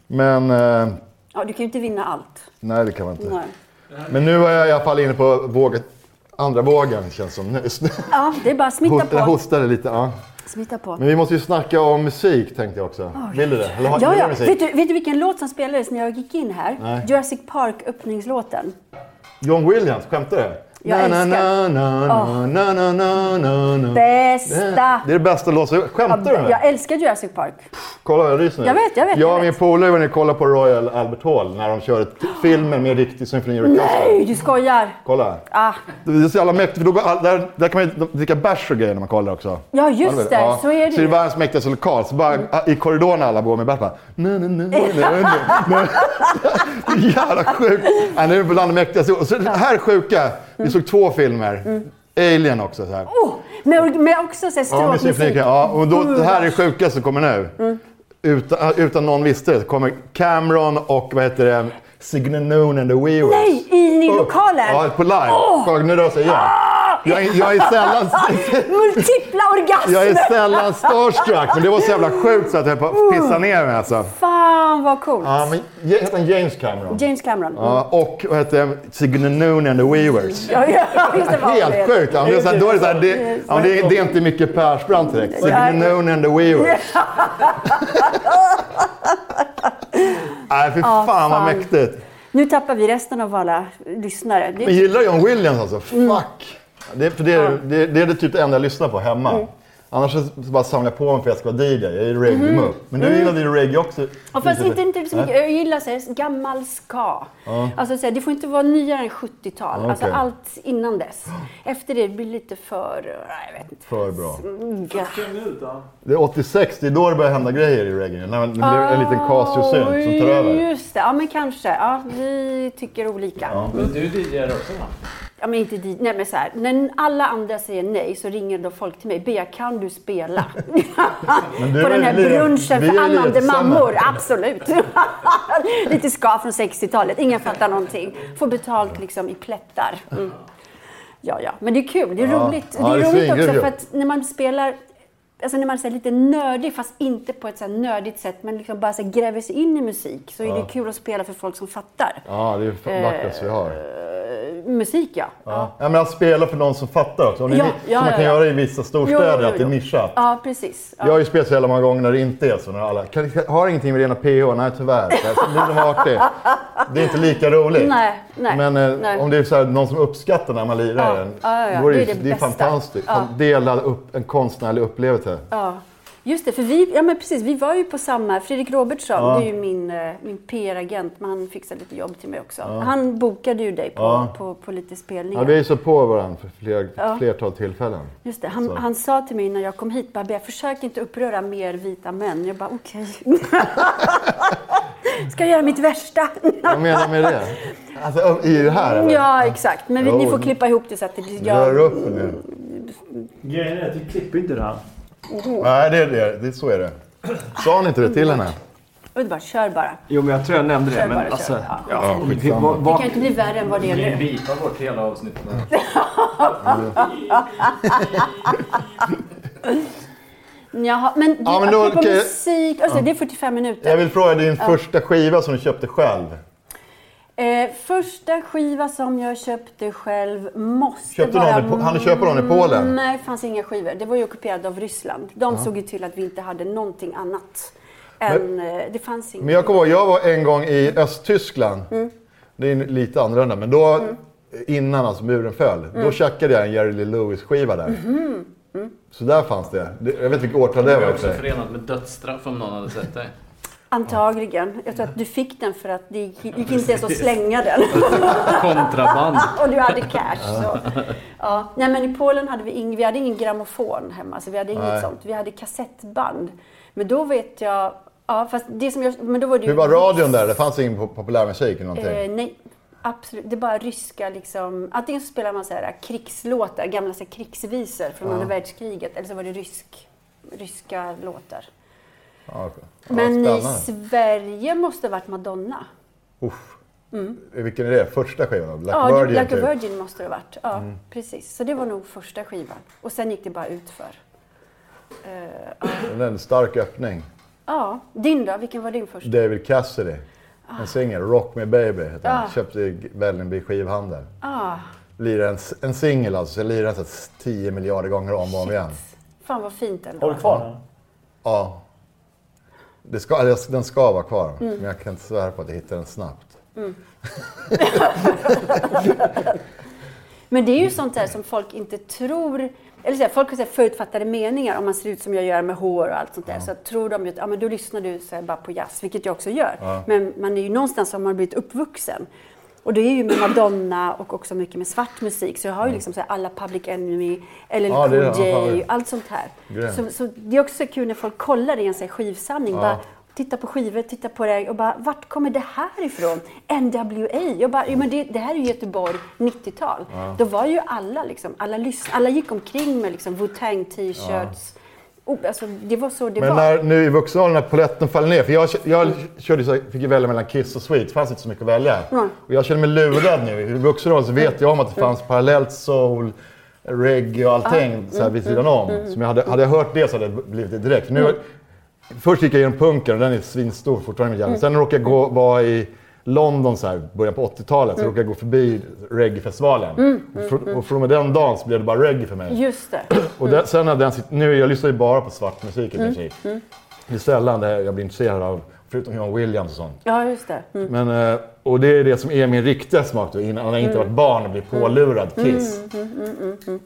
Speaker 3: Men... Eh,
Speaker 4: Ja, du kan ju inte vinna allt.
Speaker 3: nej, det kan man inte.
Speaker 4: Nej.
Speaker 3: Men nu är jag i alla fall inne på våget, andra vågen, känns som nyss.
Speaker 4: Ja, det är bara att smitta
Speaker 3: Host, jag
Speaker 4: på.
Speaker 3: hostade lite. Ja.
Speaker 4: Smitta på.
Speaker 3: Men vi måste ju snacka om musik, tänkte jag också. Vill du det? Eller har,
Speaker 4: Ja,
Speaker 3: vill
Speaker 4: ja.
Speaker 3: du musik?
Speaker 4: Vet, du, vet du vilken låt som spelades när jag gick in här?
Speaker 3: Nej. Mm.
Speaker 4: Jurassic Park, öppningslåten.
Speaker 3: John Williams, skämtar du?
Speaker 4: Jag
Speaker 3: na, na,
Speaker 4: älskar.
Speaker 3: na, na, na, na, na, na, na.
Speaker 4: Bästa!
Speaker 3: Det är det bästa låten. Skämtar du med mig?
Speaker 4: Jag älskar Jurassic Park.
Speaker 3: Kolla, jag ryser nu.
Speaker 4: Jag vet, jag vet,
Speaker 3: Jag
Speaker 4: jag
Speaker 3: och min
Speaker 4: vet. Ah.
Speaker 3: polare var nere och kollade på Royal Albert Hall när de körde t- filmen med riktig symfoniorkester.
Speaker 4: Nej, du skojar!
Speaker 3: Kolla.
Speaker 4: Ah.
Speaker 3: Det är så jävla mäktigt, för då går, all- där, där kan man ju dricka bärs och grejer när man kollar också.
Speaker 4: Ja,
Speaker 3: Ja, du
Speaker 4: just
Speaker 3: vet.
Speaker 4: det.
Speaker 3: Ja.
Speaker 4: Så är det
Speaker 3: Så det är
Speaker 4: ju. Mm.
Speaker 3: världens mäktigaste lokal. Så bara i korridoren alla går med bärs bara... Na, na, na, na, na,
Speaker 4: [laughs]
Speaker 3: na, na. Jävla sjukt. Ja, det är bland det mäktigaste. Och så det här sjuka.
Speaker 4: Mm.
Speaker 3: Vi såg två filmer. Alien också. Så här.
Speaker 4: Oh, med, med också så här
Speaker 3: Ja, med
Speaker 4: stråkmusik.
Speaker 3: symfoniker. Ja, och då,
Speaker 4: Mm.
Speaker 3: det här är det sjukaste som kommer nu. Utan, utan någon visste det så kommer Cameron och vad heter det, Signe Noon and the Weavers.
Speaker 4: Nej, i Ah!
Speaker 3: Upp.
Speaker 4: nynlokalen!
Speaker 3: Ja, på live. Kolla, nu rör sig igen. Jag, är- jag är
Speaker 4: [laughs]
Speaker 3: sällan...
Speaker 4: Multipla
Speaker 3: [laughs]
Speaker 4: orgasmer!
Speaker 3: Jag är sällan starstruck, men det var så jävla sjukt så att jag på- pissade ner mig alltså.
Speaker 4: Fan vad coolt!
Speaker 3: Ja, men jag heter han James Cameron?
Speaker 4: James Cameron.
Speaker 3: Ja, och vad heter jag? Signe Noon and the Weavers.
Speaker 4: Ja, ja, just det, vad det är.
Speaker 3: Helt sjukt! Ja, men det, är så här, då är det, så här, det, ja, men det, är- det är inte mycket Persbrandt direkt. Signe Noon and the Weavers. Nej, fy fan, vad
Speaker 4: fan.
Speaker 3: mäktigt.
Speaker 4: Nu tappar vi resten av alla lyssnare. Det,
Speaker 3: Men gillar John Williams alltså?
Speaker 4: Mm.
Speaker 3: Fuck! Det, för det, är, det, det är det typ det enda jag lyssnar på hemma.
Speaker 4: Mm.
Speaker 3: Annars så bara samlar jag på mig för att jag ska vara DJ. Jag är ju
Speaker 4: Mm-hmm.
Speaker 3: reggae mm. Men du gillade ju reggae också.
Speaker 4: ja, fast inte, inte så mycket. Jag gillar så här, gammal ska. Alltså, så här, det får inte vara nyare än 70-tal.
Speaker 3: Okej.
Speaker 4: Alltså allt innan dess. Efter det blir lite för... eh, Jag vet inte.
Speaker 3: För bra.
Speaker 4: Ja.
Speaker 1: Kring ut då.
Speaker 3: Det är 86, det är då det börjar hända grejer i reggae. När det blir en
Speaker 4: Ah,
Speaker 3: liten Casio-synt som tar över.
Speaker 4: Just det. Ja, men kanske. Ja, vi tycker olika. Ja,
Speaker 7: Men du DJar också va?
Speaker 4: men inte di- Nej, men så här. När alla andra säger nej så ringer då folk till mig. Bea, kan du spela?
Speaker 3: Men du har
Speaker 4: på den
Speaker 3: ju
Speaker 4: här
Speaker 3: lirat-
Speaker 4: brunchen
Speaker 3: vi har ju
Speaker 4: för
Speaker 3: lirat
Speaker 4: annande
Speaker 3: tillsammans.
Speaker 4: mammor. Absolut. [laughs] Lite ska från 60-talet. Ingen fattar någonting. Får betalt liksom i plättar. Mm. Ja, ja. Men det är kul. Det är roligt.
Speaker 3: Ja,
Speaker 4: det är
Speaker 3: det är
Speaker 4: roligt
Speaker 3: svingrymt
Speaker 4: också
Speaker 3: ju.
Speaker 4: för att när man spelar Alltså när man är så här lite nördig, fast inte på ett så här nördigt sätt, men liksom bara så här gräver sig in i musik, så är det kul att spela för folk som fattar.
Speaker 3: Ja, det är det vackraste vi har.
Speaker 4: Eh, Musik, ja.
Speaker 3: Ja. Ja, men att spela för någon som fattar också. Om det är
Speaker 4: Ja,
Speaker 3: ni-
Speaker 4: ja,
Speaker 3: som man
Speaker 4: ja,
Speaker 3: kan
Speaker 4: ja.
Speaker 3: göra i vissa storstäder,
Speaker 4: Jo, jo,
Speaker 3: att det är
Speaker 4: jo.
Speaker 3: nischat.
Speaker 4: Ja, precis. Ja.
Speaker 3: Jag har ju spelat så jävla många gånger när det inte är så. När alla, kan, har ingenting med rena PH? Nej, tyvärr. Så här, Blir de artig? Det är inte lika roligt.
Speaker 4: Nej, nej,
Speaker 3: Men eh,
Speaker 4: nej.
Speaker 3: om det är så här, någon som uppskattar när man lirar
Speaker 4: Ja,
Speaker 3: den,
Speaker 4: ja, ja, ja.
Speaker 3: då är det,
Speaker 4: Det är
Speaker 3: det,
Speaker 4: det
Speaker 3: är
Speaker 4: bästa.
Speaker 3: fantastiskt.
Speaker 4: Ja.
Speaker 3: Fan, Dela upp en konstnärlig upplevelse.
Speaker 4: Ja, just det. För vi, ja, men precis, vi var ju på samma. Fredrik Robertsson, det är ju min, eh, min PR-agent, men han fixar lite jobb till mig också. Han bokade ju dig på,
Speaker 3: Ja.
Speaker 4: på, på lite
Speaker 3: Ja,
Speaker 4: spelningar.
Speaker 3: vi är så på varandra för fler,
Speaker 4: Ja.
Speaker 3: flertal tillfällen.
Speaker 4: Just det. Han, han sa till mig innan jag kom hit, Babbia, försök inte uppröra mer vita män. Jag bara,
Speaker 3: [laughs]
Speaker 4: okej. Ska jag göra mitt värsta?
Speaker 3: Vad menar du med det? Alltså, i det här eller?
Speaker 4: [laughs] ja, exakt. Men vi,
Speaker 3: Jo.
Speaker 4: ni får klippa ihop det så att det blir...
Speaker 3: Rör
Speaker 4: Jag,
Speaker 3: upp nu.
Speaker 1: Grejen är att vi klipper inte det här.
Speaker 3: Nej, det är det. det är så är det. Sa han inte det till henne?
Speaker 4: Underbart, kör bara.
Speaker 6: Jo, men jag tror jag nämnde det.
Speaker 4: Kör
Speaker 6: Men
Speaker 4: bara, kör.
Speaker 6: alltså,
Speaker 4: Ja.
Speaker 6: ja, vi,
Speaker 3: skitsamma.
Speaker 6: var,
Speaker 4: Det
Speaker 6: var,
Speaker 4: kan ju inte bli värre än Mm. vad det är nu.
Speaker 5: Bipa bort hela avsnittet.
Speaker 4: Jaha, men du,
Speaker 3: Ja, men då-
Speaker 4: apropå
Speaker 3: okej.
Speaker 4: musik, alltså, det är 45 minuter.
Speaker 3: Jag vill fråga din första skiva som du köpte själv.
Speaker 4: Eh, första skiva som jag köpte själv måste
Speaker 3: Köpte
Speaker 4: vara...
Speaker 3: någon i Po- hann du köpa någon i Polen?
Speaker 4: Nej, det fanns inga skivor. Det var ju ockuperat av Ryssland. De såg ju till att vi inte hade någonting annat. Än, eh, det fanns inget.
Speaker 3: Men jag kommer ihåg, jag var en gång i Östtyskland.
Speaker 4: Mm.
Speaker 3: Det är lite annorlunda, men då, innan alltså muren föll,
Speaker 4: Mm.
Speaker 3: då tjackade jag en Jerry Lee Lewis-skiva där.
Speaker 4: Mhm.
Speaker 3: Så där fanns det. Det- Jag vet inte vilket årtal det
Speaker 7: Det
Speaker 3: var i
Speaker 7: var
Speaker 3: och för
Speaker 7: också
Speaker 3: sig.
Speaker 7: förenat med dödsstraff om någon hade sett dig.
Speaker 4: Antagligen. Jag tror att du fick den för att det gick, gick inte ens att slänga den.
Speaker 6: kontraband.
Speaker 4: [laughs] Och du hade cash. Så. Ja. Nej, men I Polen hade vi, ing, vi hade ingen grammofon hemma, så vi hade inget
Speaker 3: Nej.
Speaker 4: sånt. Vi hade kassettband. Men då vet jag... Ja, fast det som jag, men då var det ju
Speaker 3: Hur var radion där? Det fanns ingen pop- populärmusik eller någonting?
Speaker 4: Eh, nej, absolut. Det är bara ryska liksom. Antingen så spelar man så här äh, krigslåtar, gamla så här, krigsvisor från andra världskriget. Eller så var det rysk, ryska låtar.
Speaker 3: Ja, okej. ja,
Speaker 4: Men i
Speaker 3: spännande.
Speaker 4: Sverige måste det varit Madonna. Mm.
Speaker 3: Uff. Vilken är det? Första skivan? Black
Speaker 4: ja,
Speaker 3: Virgin?
Speaker 4: Like
Speaker 3: typ. Mm.
Speaker 4: a Virgin måste det ha varit. Ja, precis. Så det var nog första skivan. Och sen gick det bara utför. Eh, ja.
Speaker 3: Det är en stark öppning.
Speaker 4: ja, din då? Vilken var din första?
Speaker 3: David Cassidy. En singel, Rock Me Baby, heter han.
Speaker 4: Ah.
Speaker 3: Köpte i Vällingby skivhandel.
Speaker 4: Ah,
Speaker 3: Lirade en, en singel alltså, så jag lirade den så här 10 miljarder gånger om och om igen.
Speaker 4: fan vad fint ändå.
Speaker 1: Har du kvar den?
Speaker 3: Ja. Det ska, eller jag- den ska vara kvar, men jag kan inte svära på att jag hittar den snabbt.
Speaker 4: Men det
Speaker 3: Mm.
Speaker 4: är ju sånt där som folk inte tror. Eller så här, folk har så här förutfattade meningar om man ser ut som jag gör med hår och allt sånt där. Så tror de ju att ja, men då lyssnar du så här bara på jazz, vilket jag också gör. Men man är ju någonstans har man blivit uppvuxen. Och det är ju med Madonna och också mycket med svart musik. Så jag har ju liksom så här alla Public Enemy, LL
Speaker 3: Mm. Ja, det är
Speaker 4: Cool
Speaker 3: det. Ja, fan,
Speaker 4: J,
Speaker 3: det-
Speaker 4: allt sånt här.
Speaker 3: Grymt.
Speaker 4: Så, så det är också kul när folk kollar i en så här skivsamling. Bara, titta på skivor, titta på det och bara, vart kommer det här ifrån? NWA? Jag bara, "Jo, men det, det här är ju Göteborg 90-tal. Då var ju alla liksom, alla, lys- alla gick omkring med liksom Wu-Tang t-shirts. Oh, alltså, det var så det
Speaker 3: Men
Speaker 4: var.
Speaker 3: när, nu i vuxen ålder när polletten faller ner, för jag, jag körde, så- fick ju välja mellan Kiss och Sweet, det fanns inte så mycket att välja.
Speaker 4: Mm.
Speaker 3: Och jag känner mig lurad nu. I vuxen ålder så vet jag om att det fanns parallellt soul, reggae och allting så här vid sidan om. Som jag hade, hade jag hört det så hade det blivit det direkt. Nu, Först gick jag genom punken och den är svinstor fortfarande. i mitt hjärna. Sen råkade jag gå, vara i London så här, början på 80-talet, så råkade jag gå förbi reggaefestivalen. Och, fr- och från och med den dagen så blev det bara reggae för mig.
Speaker 4: Just det.
Speaker 3: Och där, sen har den sitt, nu, jag lyssnar ju bara på svart musik i
Speaker 4: Mm,
Speaker 3: princip. Det är sällan det här jag blir intresserad av, förutom John Williams och sånt.
Speaker 4: Ja, just det. Mm.
Speaker 3: Men, eh, och det är det som är min riktiga smak då, innan jag inte
Speaker 4: Mm.
Speaker 3: varit barn och blivit pålurad Kiss.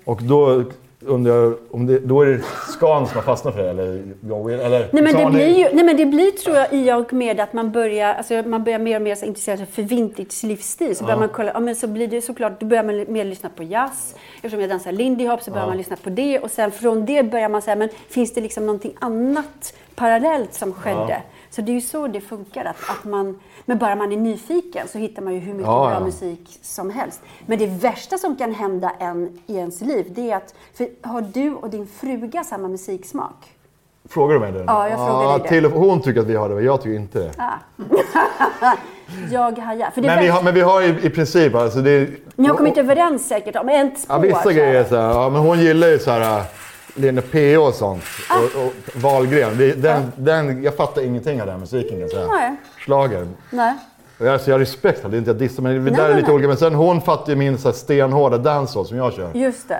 Speaker 3: Och då undrar jag, om det, då är det Scan som har fastnat för det, eller John Williams? Eller,
Speaker 4: Nej, men
Speaker 3: Scan
Speaker 4: det
Speaker 3: är-
Speaker 4: blir ju, nej, men det blir tror jag i och med att man börjar, alltså, man börjar mer och mer så intressera sig för vintage livsstil. Så börjar man kolla, ja, men så blir det såklart, då börjar man mer lyssna på jazz. Eftersom jag dansar lindy hop så börjar man lyssna på det. Och sen från det börjar man säga, men finns det liksom någonting annat parallellt som skedde? Så det är ju så det funkar, att, att man, men bara man är nyfiken så hittar man ju hur mycket
Speaker 3: Ja,
Speaker 4: bra
Speaker 3: ja.
Speaker 4: musik som helst. Men det värsta som kan hända en, i ens liv, det är att, för har du och din fruga samma musiksmak?
Speaker 3: Frågar du mig det?
Speaker 4: Ja, jag frågar dig det.
Speaker 3: till och, Hon tycker att vi har det, men jag tycker inte det.
Speaker 4: Jag hajar. För det
Speaker 3: men, vi
Speaker 4: värsta-
Speaker 3: har, men vi har i, i princip, alltså det är,
Speaker 4: Ni har kommit överens säkert om ett spår.
Speaker 3: Ja,
Speaker 4: så
Speaker 3: vissa
Speaker 4: här.
Speaker 3: grejer är så här, ja, men hon gillar ju så här äh, Lena P.O. och sånt.
Speaker 4: Ah.
Speaker 3: Och, och Wahlgren. Det, den, den, jag fattar ingenting av den här musiken kan jag
Speaker 4: Nej.
Speaker 3: säga. Schlager.
Speaker 4: Nej.
Speaker 3: Och jag- Alltså, jag har respekt för det, det är inte jag dissar, men det
Speaker 4: Nej,
Speaker 3: där är
Speaker 4: nej,
Speaker 3: lite
Speaker 4: nej.
Speaker 3: olika. Men sen hon fattar ju min så här stenhårda dancehall som jag kör.
Speaker 4: Just det.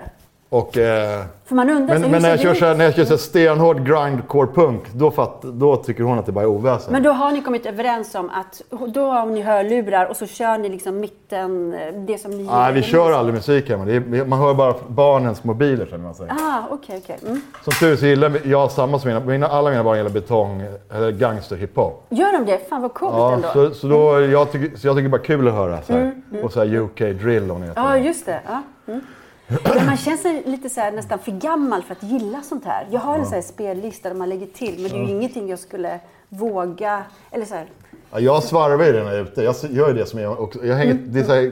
Speaker 3: Och, eh,
Speaker 4: För man undrar sig,
Speaker 3: men
Speaker 4: Alltså, hur
Speaker 3: men när, jag
Speaker 4: ser det
Speaker 3: kör så här,
Speaker 4: ut?
Speaker 3: när jag kör så här stenhård grindcore-punk, då, fatt, då tycker hon att det bara är oväsen.
Speaker 4: Men då har ni kommit överens om att då har ni hörlurar och så kör ni liksom mitten, eh, det som ni gillar.
Speaker 3: Nej, vi
Speaker 4: Det är
Speaker 3: kör
Speaker 4: liksom-
Speaker 3: aldrig musik hemma. Det är, man hör bara barnens mobiler, känner man sig.
Speaker 4: Ah, okej, okej. Mm.
Speaker 3: Som tur är så gillar jag samma som mina, mina, alla mina barn gillar betong, eller gangsterhiphop.
Speaker 4: Gör de det? Fan vad coolt
Speaker 3: Ja,
Speaker 4: ändå. Ja,
Speaker 3: så, så, då, jag tycker, så jag tycker bara kul att höra så här. Och så här UK drill om ni vet vad det är.
Speaker 4: just det. Ja. Mm. Men man känns lite så här, nästan för gammal för att gilla sånt här. Jag har en så här spellista där man lägger till, men det är ju ingenting jag skulle våga. Eller så här, Mm.
Speaker 3: ja, Jag svarvar ju den här ute. Jag gör ju det som jag också. Jag hänger, det är så här,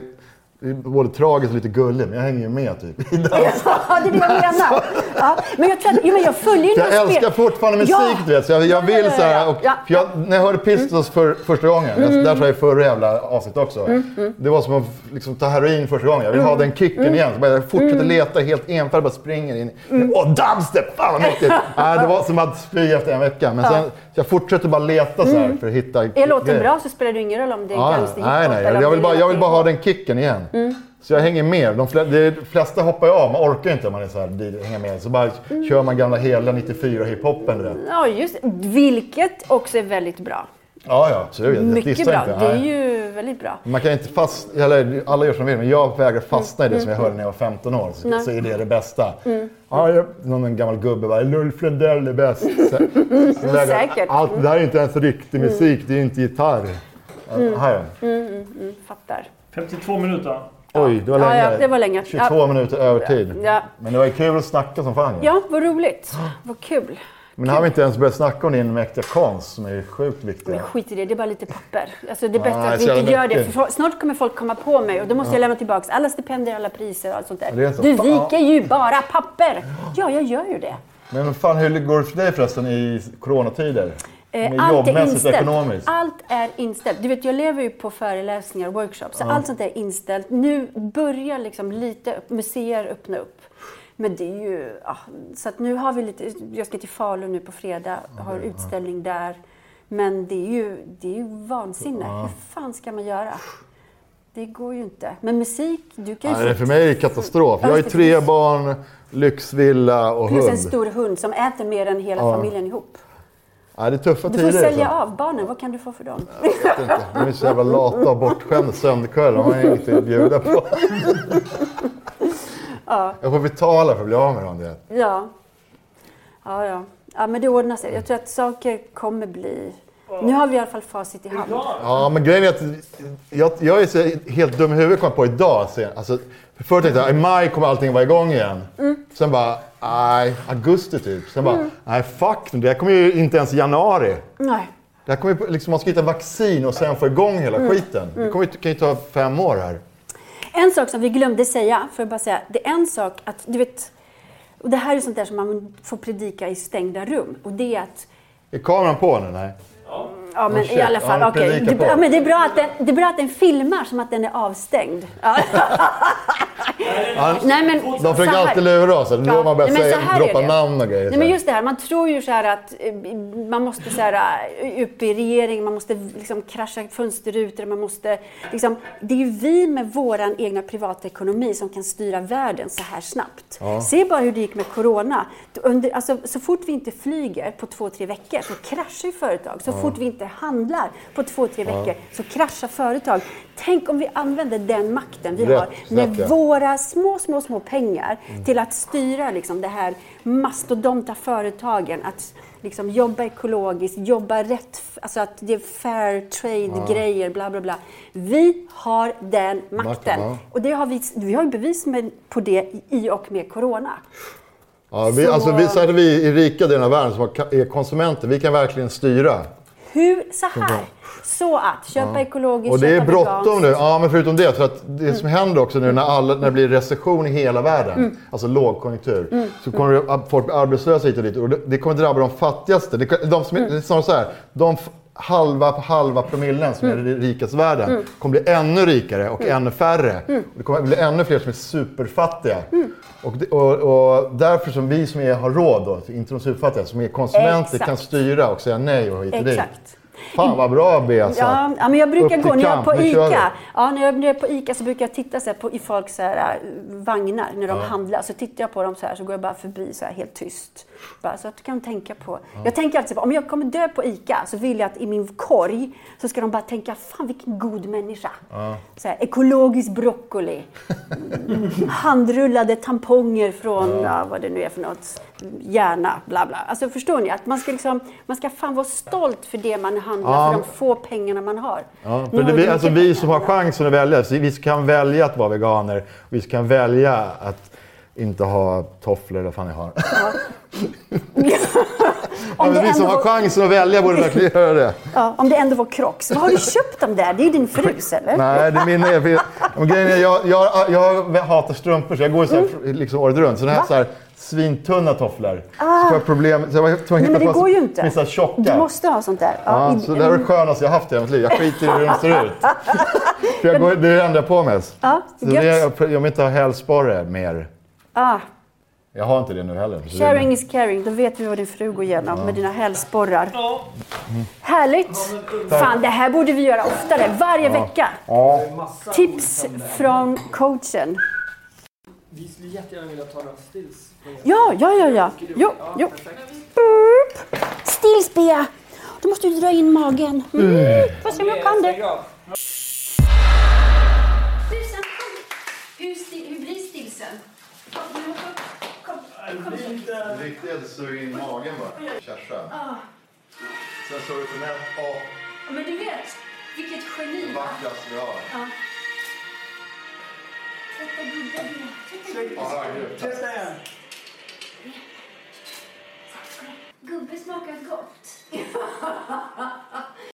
Speaker 3: Det är både tragiskt och lite gulligt, men jag hänger ju med typ.
Speaker 4: Ja, det är det jag
Speaker 3: [laughs]
Speaker 4: menar. Ja, men jag, tror att, jo, men jag följer ju
Speaker 3: Jag
Speaker 4: några
Speaker 3: älskar
Speaker 4: spel-
Speaker 3: fortfarande musik,
Speaker 4: Ja.
Speaker 3: du vet. Så jag, jag
Speaker 4: Ja, ja,
Speaker 3: vill
Speaker 4: ja,
Speaker 3: så här,
Speaker 4: ja.
Speaker 3: och,
Speaker 4: Ja. Mm.
Speaker 3: för jag, när jag hörde Pistols för, första gången, jag, där sa jag i förra jävla avsnittet också.
Speaker 4: Mm,
Speaker 3: Det var som att liksom, ta heroin första gången. Jag vill ha den kicken igen. Så bara, jag
Speaker 4: Mm.
Speaker 3: fortsätter leta helt enfärdigt, bara springer in. Åh, dubstep! Fan vad
Speaker 4: [laughs]
Speaker 3: mäktigt! Nej, det var som att spy efter en vecka. Men sen, så jag fortsätter bara leta så här för att hitta
Speaker 4: Mm. Är låten
Speaker 3: grejer.
Speaker 4: bra så spelar det ingen roll om det är
Speaker 3: Ja,
Speaker 4: gangster
Speaker 3: nej, nej.
Speaker 4: eller
Speaker 3: Jag,
Speaker 4: om
Speaker 3: jag, vill
Speaker 4: det är
Speaker 3: bara, jag vill bara ha
Speaker 4: någonting.
Speaker 3: den kicken igen.
Speaker 4: Mm.
Speaker 3: Så jag hänger med. De flesta, de flesta hoppar ju av, man orkar ju inte om man är så här, det- hänger med. Så bara
Speaker 4: Mm.
Speaker 3: kör man gamla hela 94 hiphopen. du vet.
Speaker 4: Ja, just det. Vilket också är väldigt bra.
Speaker 3: Ja, ja, absolut. Jag
Speaker 4: Mycket
Speaker 3: dissar
Speaker 4: bra.
Speaker 3: Inte.
Speaker 4: Det är
Speaker 3: nej.
Speaker 4: ju väldigt bra.
Speaker 3: Man kan inte fastna, eller alla gör som de vill, men jag vägrar fastna i
Speaker 4: Mm.
Speaker 3: det som jag hörde när jag var 15 år. Så, så är det det bästa. Ja, jag, någon gammal gubbe bara, Lulf Lundell är bäst. Så,
Speaker 4: [laughs]
Speaker 3: jag vägrar-
Speaker 4: Säkert. Mm.
Speaker 3: Allt det här är inte ens riktig musik, det är inte gitarr. Ja, Här.
Speaker 4: Fattar.
Speaker 1: 52 minuter.
Speaker 3: Oj, det var
Speaker 4: Ja,
Speaker 3: länge.
Speaker 4: ja, det var länge.
Speaker 3: 22 minuter övertid.
Speaker 4: Ja.
Speaker 3: Men det var ju kul att snacka som fan. ju.
Speaker 4: Ja, vad roligt. Vad kul.
Speaker 3: Men här har vi inte ens börjat snacka om din mäktiga konst som är sjukt
Speaker 4: Men
Speaker 3: viktig.
Speaker 4: skit i det, det är bara lite papper. Alltså, det är bättre
Speaker 3: Ah,
Speaker 4: att
Speaker 3: så
Speaker 4: vi
Speaker 3: jävla
Speaker 4: inte gör det,
Speaker 3: mycket.
Speaker 4: för snart kommer folk komma på mig och då måste jag lämna tillbaka alla stipendier, alla priser och allt sånt
Speaker 3: Det är
Speaker 4: där.
Speaker 3: så.
Speaker 4: Du
Speaker 3: Fan.
Speaker 4: viker ju bara papper! Ja, jag gör ju det.
Speaker 3: Men vad fan, hur går det för dig förresten i coronatider?
Speaker 4: Eh,
Speaker 3: Med
Speaker 4: Allt är
Speaker 3: jobbmässigt,
Speaker 4: inställt.
Speaker 3: ekonomiskt?
Speaker 4: Allt är inställt. Du vet, jag lever ju på föreläsningar och workshops. så Allt sånt där är inställt. Nu börjar liksom lite upp, museer öppna upp. Men det är ju... Ja, så att nu har vi lite... Jag ska till Falun nu på fredag och har utställning där. Men det är ju, det är ju vansinne. Hur fan ska man göra? Det går ju inte. Men musik, du kan ju...
Speaker 3: Nej, det
Speaker 4: få-
Speaker 3: för mig är det katastrof. Jag har ju
Speaker 4: Ja,
Speaker 3: tre
Speaker 4: precis.
Speaker 3: barn, lyxvilla och
Speaker 4: Plus en
Speaker 3: hund.
Speaker 4: stor hund som äter mer än hela familjen ihop.
Speaker 3: Nej, det är tuffa
Speaker 4: Du får
Speaker 3: tider.
Speaker 4: sälja
Speaker 3: alltså.
Speaker 4: av barnen. Vad kan du få för dem?
Speaker 3: Jag vet inte. De är så jävla lata och bortskämda sömnkvällar. De har inget att bjuda
Speaker 4: [laughs]
Speaker 3: på. Jag får betala för att bli av med dem. Det.
Speaker 4: Ja. Ja, ja. ja, men det ordnar sig. Jag tror att saker kommer bli... Nu har vi i alla fall facit i hand.
Speaker 3: Ja, men grejen är att jag, jag är så helt dum i huvudet kom jag på idag. sen. Alltså, förut tänkte jag i maj kommer allting vara igång igen.
Speaker 4: Mm.
Speaker 3: Sen bara, nej, augusti typ. Sen bara, nej fuck nu, det här kommer ju inte ens i januari.
Speaker 4: Nej.
Speaker 3: Det här kommer ju, liksom, man ska hitta vaccin och sen få igång hela
Speaker 4: Mm.
Speaker 3: skiten. Det kommer, ju- kan ju ta fem år här.
Speaker 4: En sak som vi glömde säga, för att bara säga, det är en sak att, du vet, och det här är sånt där som man får predika i stängda rum, och det är att
Speaker 3: Är kameran på nu? Nej.
Speaker 4: Ja, men
Speaker 3: shit.
Speaker 4: i alla fall.
Speaker 3: Ja,
Speaker 4: okej.
Speaker 3: predika
Speaker 4: Det,
Speaker 3: på.
Speaker 4: ja, men det, är bra att den, det är bra att den filmar som att den är avstängd. Ja. [laughs] Nej, men,
Speaker 3: De försöker
Speaker 4: så här-
Speaker 3: alltid lura oss. Nu har man börjat
Speaker 4: Nej, men så
Speaker 3: säga,
Speaker 4: här är
Speaker 3: droppa
Speaker 4: det.
Speaker 3: namn och grejer.
Speaker 4: Nej, men just det här, man tror ju så här att eh, man måste så här, eh, upp i regeringen, man måste liksom krascha fönsterrutor, man måste liksom, Det är ju vi med våran egna privatekonomi som kan styra världen så här snabbt. Se bara hur det gick med Corona. Under, alltså, så fort vi inte flyger på två, tre veckor så kraschar ju företag. Så fort vi inte handlar på två, tre veckor så kraschar företag. Tänk om vi använder den makten vi
Speaker 3: Rätt,
Speaker 4: har med
Speaker 3: rätt, ja.
Speaker 4: vår våra små, små, små pengar
Speaker 3: Mm.
Speaker 4: till att styra liksom, det här mastodonta företagen. Att liksom, jobba ekologiskt, jobba rätt, alltså att det är fair trade-grejer, bla, bla, bla. Vi har den makten.
Speaker 3: Makten, ja.
Speaker 4: Och det har vi, vi har ju bevis med, på det i och med corona.
Speaker 3: ja, vi,
Speaker 4: så-
Speaker 3: alltså, vi, så här är vi i rika delen av världen som har, ka- är konsumenter, vi kan verkligen styra.
Speaker 4: Hur, så här, så att köpa ekologiskt,
Speaker 3: Och det är
Speaker 4: köpa
Speaker 3: bråttom
Speaker 4: veganskt.
Speaker 3: nu. Ja, men förutom det. För att det som händer också nu när, alla, när det blir recession i hela världen,
Speaker 4: Mm.
Speaker 3: alltså lågkonjunktur, så kommer det, att folk bli arbetslösa hit och dit. Och det, det kommer drabba de fattigaste. Det, de som, är-
Speaker 4: Mm.
Speaker 3: det är snarare så här, de f- halva på halva promillen som
Speaker 4: Mm.
Speaker 3: är i rikaste världen kommer bli ännu rikare och ännu färre.
Speaker 4: Mm.
Speaker 3: Och det kommer bli ännu fler som är superfattiga. Och, det, och, och därför som vi som är, har råd, då, inte de superfattiga, som är konsumenter
Speaker 4: Exakt.
Speaker 3: kan styra och säga nej och hit och dit.
Speaker 4: Exakt.
Speaker 3: Fan vad bra Bea sa.
Speaker 4: Ja, ja, men jag brukar
Speaker 3: Upp till
Speaker 4: gå, när jag är
Speaker 3: kamp,
Speaker 4: på
Speaker 3: nu kör vi.
Speaker 4: ICA, ja, när jag när jag är på ICA så brukar jag titta så här på, i folks så här, äh, vagnar när de handlar. Så tittar jag på dem så här så går jag bara förbi så här helt tyst. Bara, så att du kan tänka på. Jag tänker alltid på, om jag kommer dö på ICA så vill jag att i min korg så ska de bara tänka, fan vilken god människa. Så här, ekologisk broccoli. handrullade tamponger från ja, vad det nu är för något. Hjärna, bla bla. Alltså förstår ni? Att man ska, liksom, man ska fan vara stolt för det man handlar,
Speaker 3: Ja.
Speaker 4: för de få pengarna man har.
Speaker 3: Ja,
Speaker 4: Nu
Speaker 3: för det,
Speaker 4: har
Speaker 3: vi,
Speaker 4: mycket
Speaker 3: alltså vi
Speaker 4: pengar.
Speaker 3: som har chansen att välja, så vi kan välja att vara veganer, vi kan välja att inte ha tofflor eller vad fan jag har.
Speaker 4: [laughs] Om
Speaker 3: Om
Speaker 4: det
Speaker 3: vi som har
Speaker 4: ändå var,
Speaker 3: chansen att välja borde verkligen göra det.
Speaker 4: ja, om det ändå var Crocs. Vad har du köpt dem där? Det är ju din frus, eller?
Speaker 3: Nej, det min är fel. Men grejen är, jag, jag, jag hatar strumpor så jag går ju så här, liksom året runt. Så den här,
Speaker 4: Mm. Va? Ah.
Speaker 3: så här svintunna tofflor. Så får jag problem. Så jag var helt tvungen
Speaker 4: Nej, men
Speaker 3: att
Speaker 4: det
Speaker 3: vara så-
Speaker 4: går ju inte.
Speaker 3: med så här tjocka.
Speaker 4: Du måste ha sånt där.
Speaker 3: Ja,
Speaker 4: i-
Speaker 3: så det här är det skönaste jag haft i hela mitt liv. Jag skiter i hur de ser
Speaker 4: [laughs]
Speaker 3: ut. För jag går, det är det enda jag har på mig. Så
Speaker 4: ja,
Speaker 3: det
Speaker 4: gött.
Speaker 3: är, jag jag vill inte ha hälsporre mer.
Speaker 4: Ah,
Speaker 3: Jag har inte det nu heller. Så det är-
Speaker 4: sharing is caring. Då vet vi vad din fru går igenom med dina hälsporrar.
Speaker 1: Ja.
Speaker 4: Härligt! Fan, det här borde vi göra oftare. Varje vecka.
Speaker 3: Ja.
Speaker 4: Tips från coachen.
Speaker 5: Vi skulle jättegärna vilja ta några stills.
Speaker 4: [laughs] Ja, ja, ja, ja. Jo, jo.
Speaker 6: 아,
Speaker 4: Burp. Stills, Bea. Du måste ju dra in magen. Mm. Får se om jag kan det.
Speaker 6: 네.
Speaker 8: Tusen tack! Hur, sti- hur blir stilsen? Kom, nu, kom, kom, kom.
Speaker 3: Det viktiga är att suga in magen bara. Kärsa. Sen så ut den här
Speaker 8: Ja, Men du vet, vilket geni!
Speaker 3: vackraste vi har.
Speaker 8: Tvätta gubben. Tvätta gubben. Gubbe smakar gott.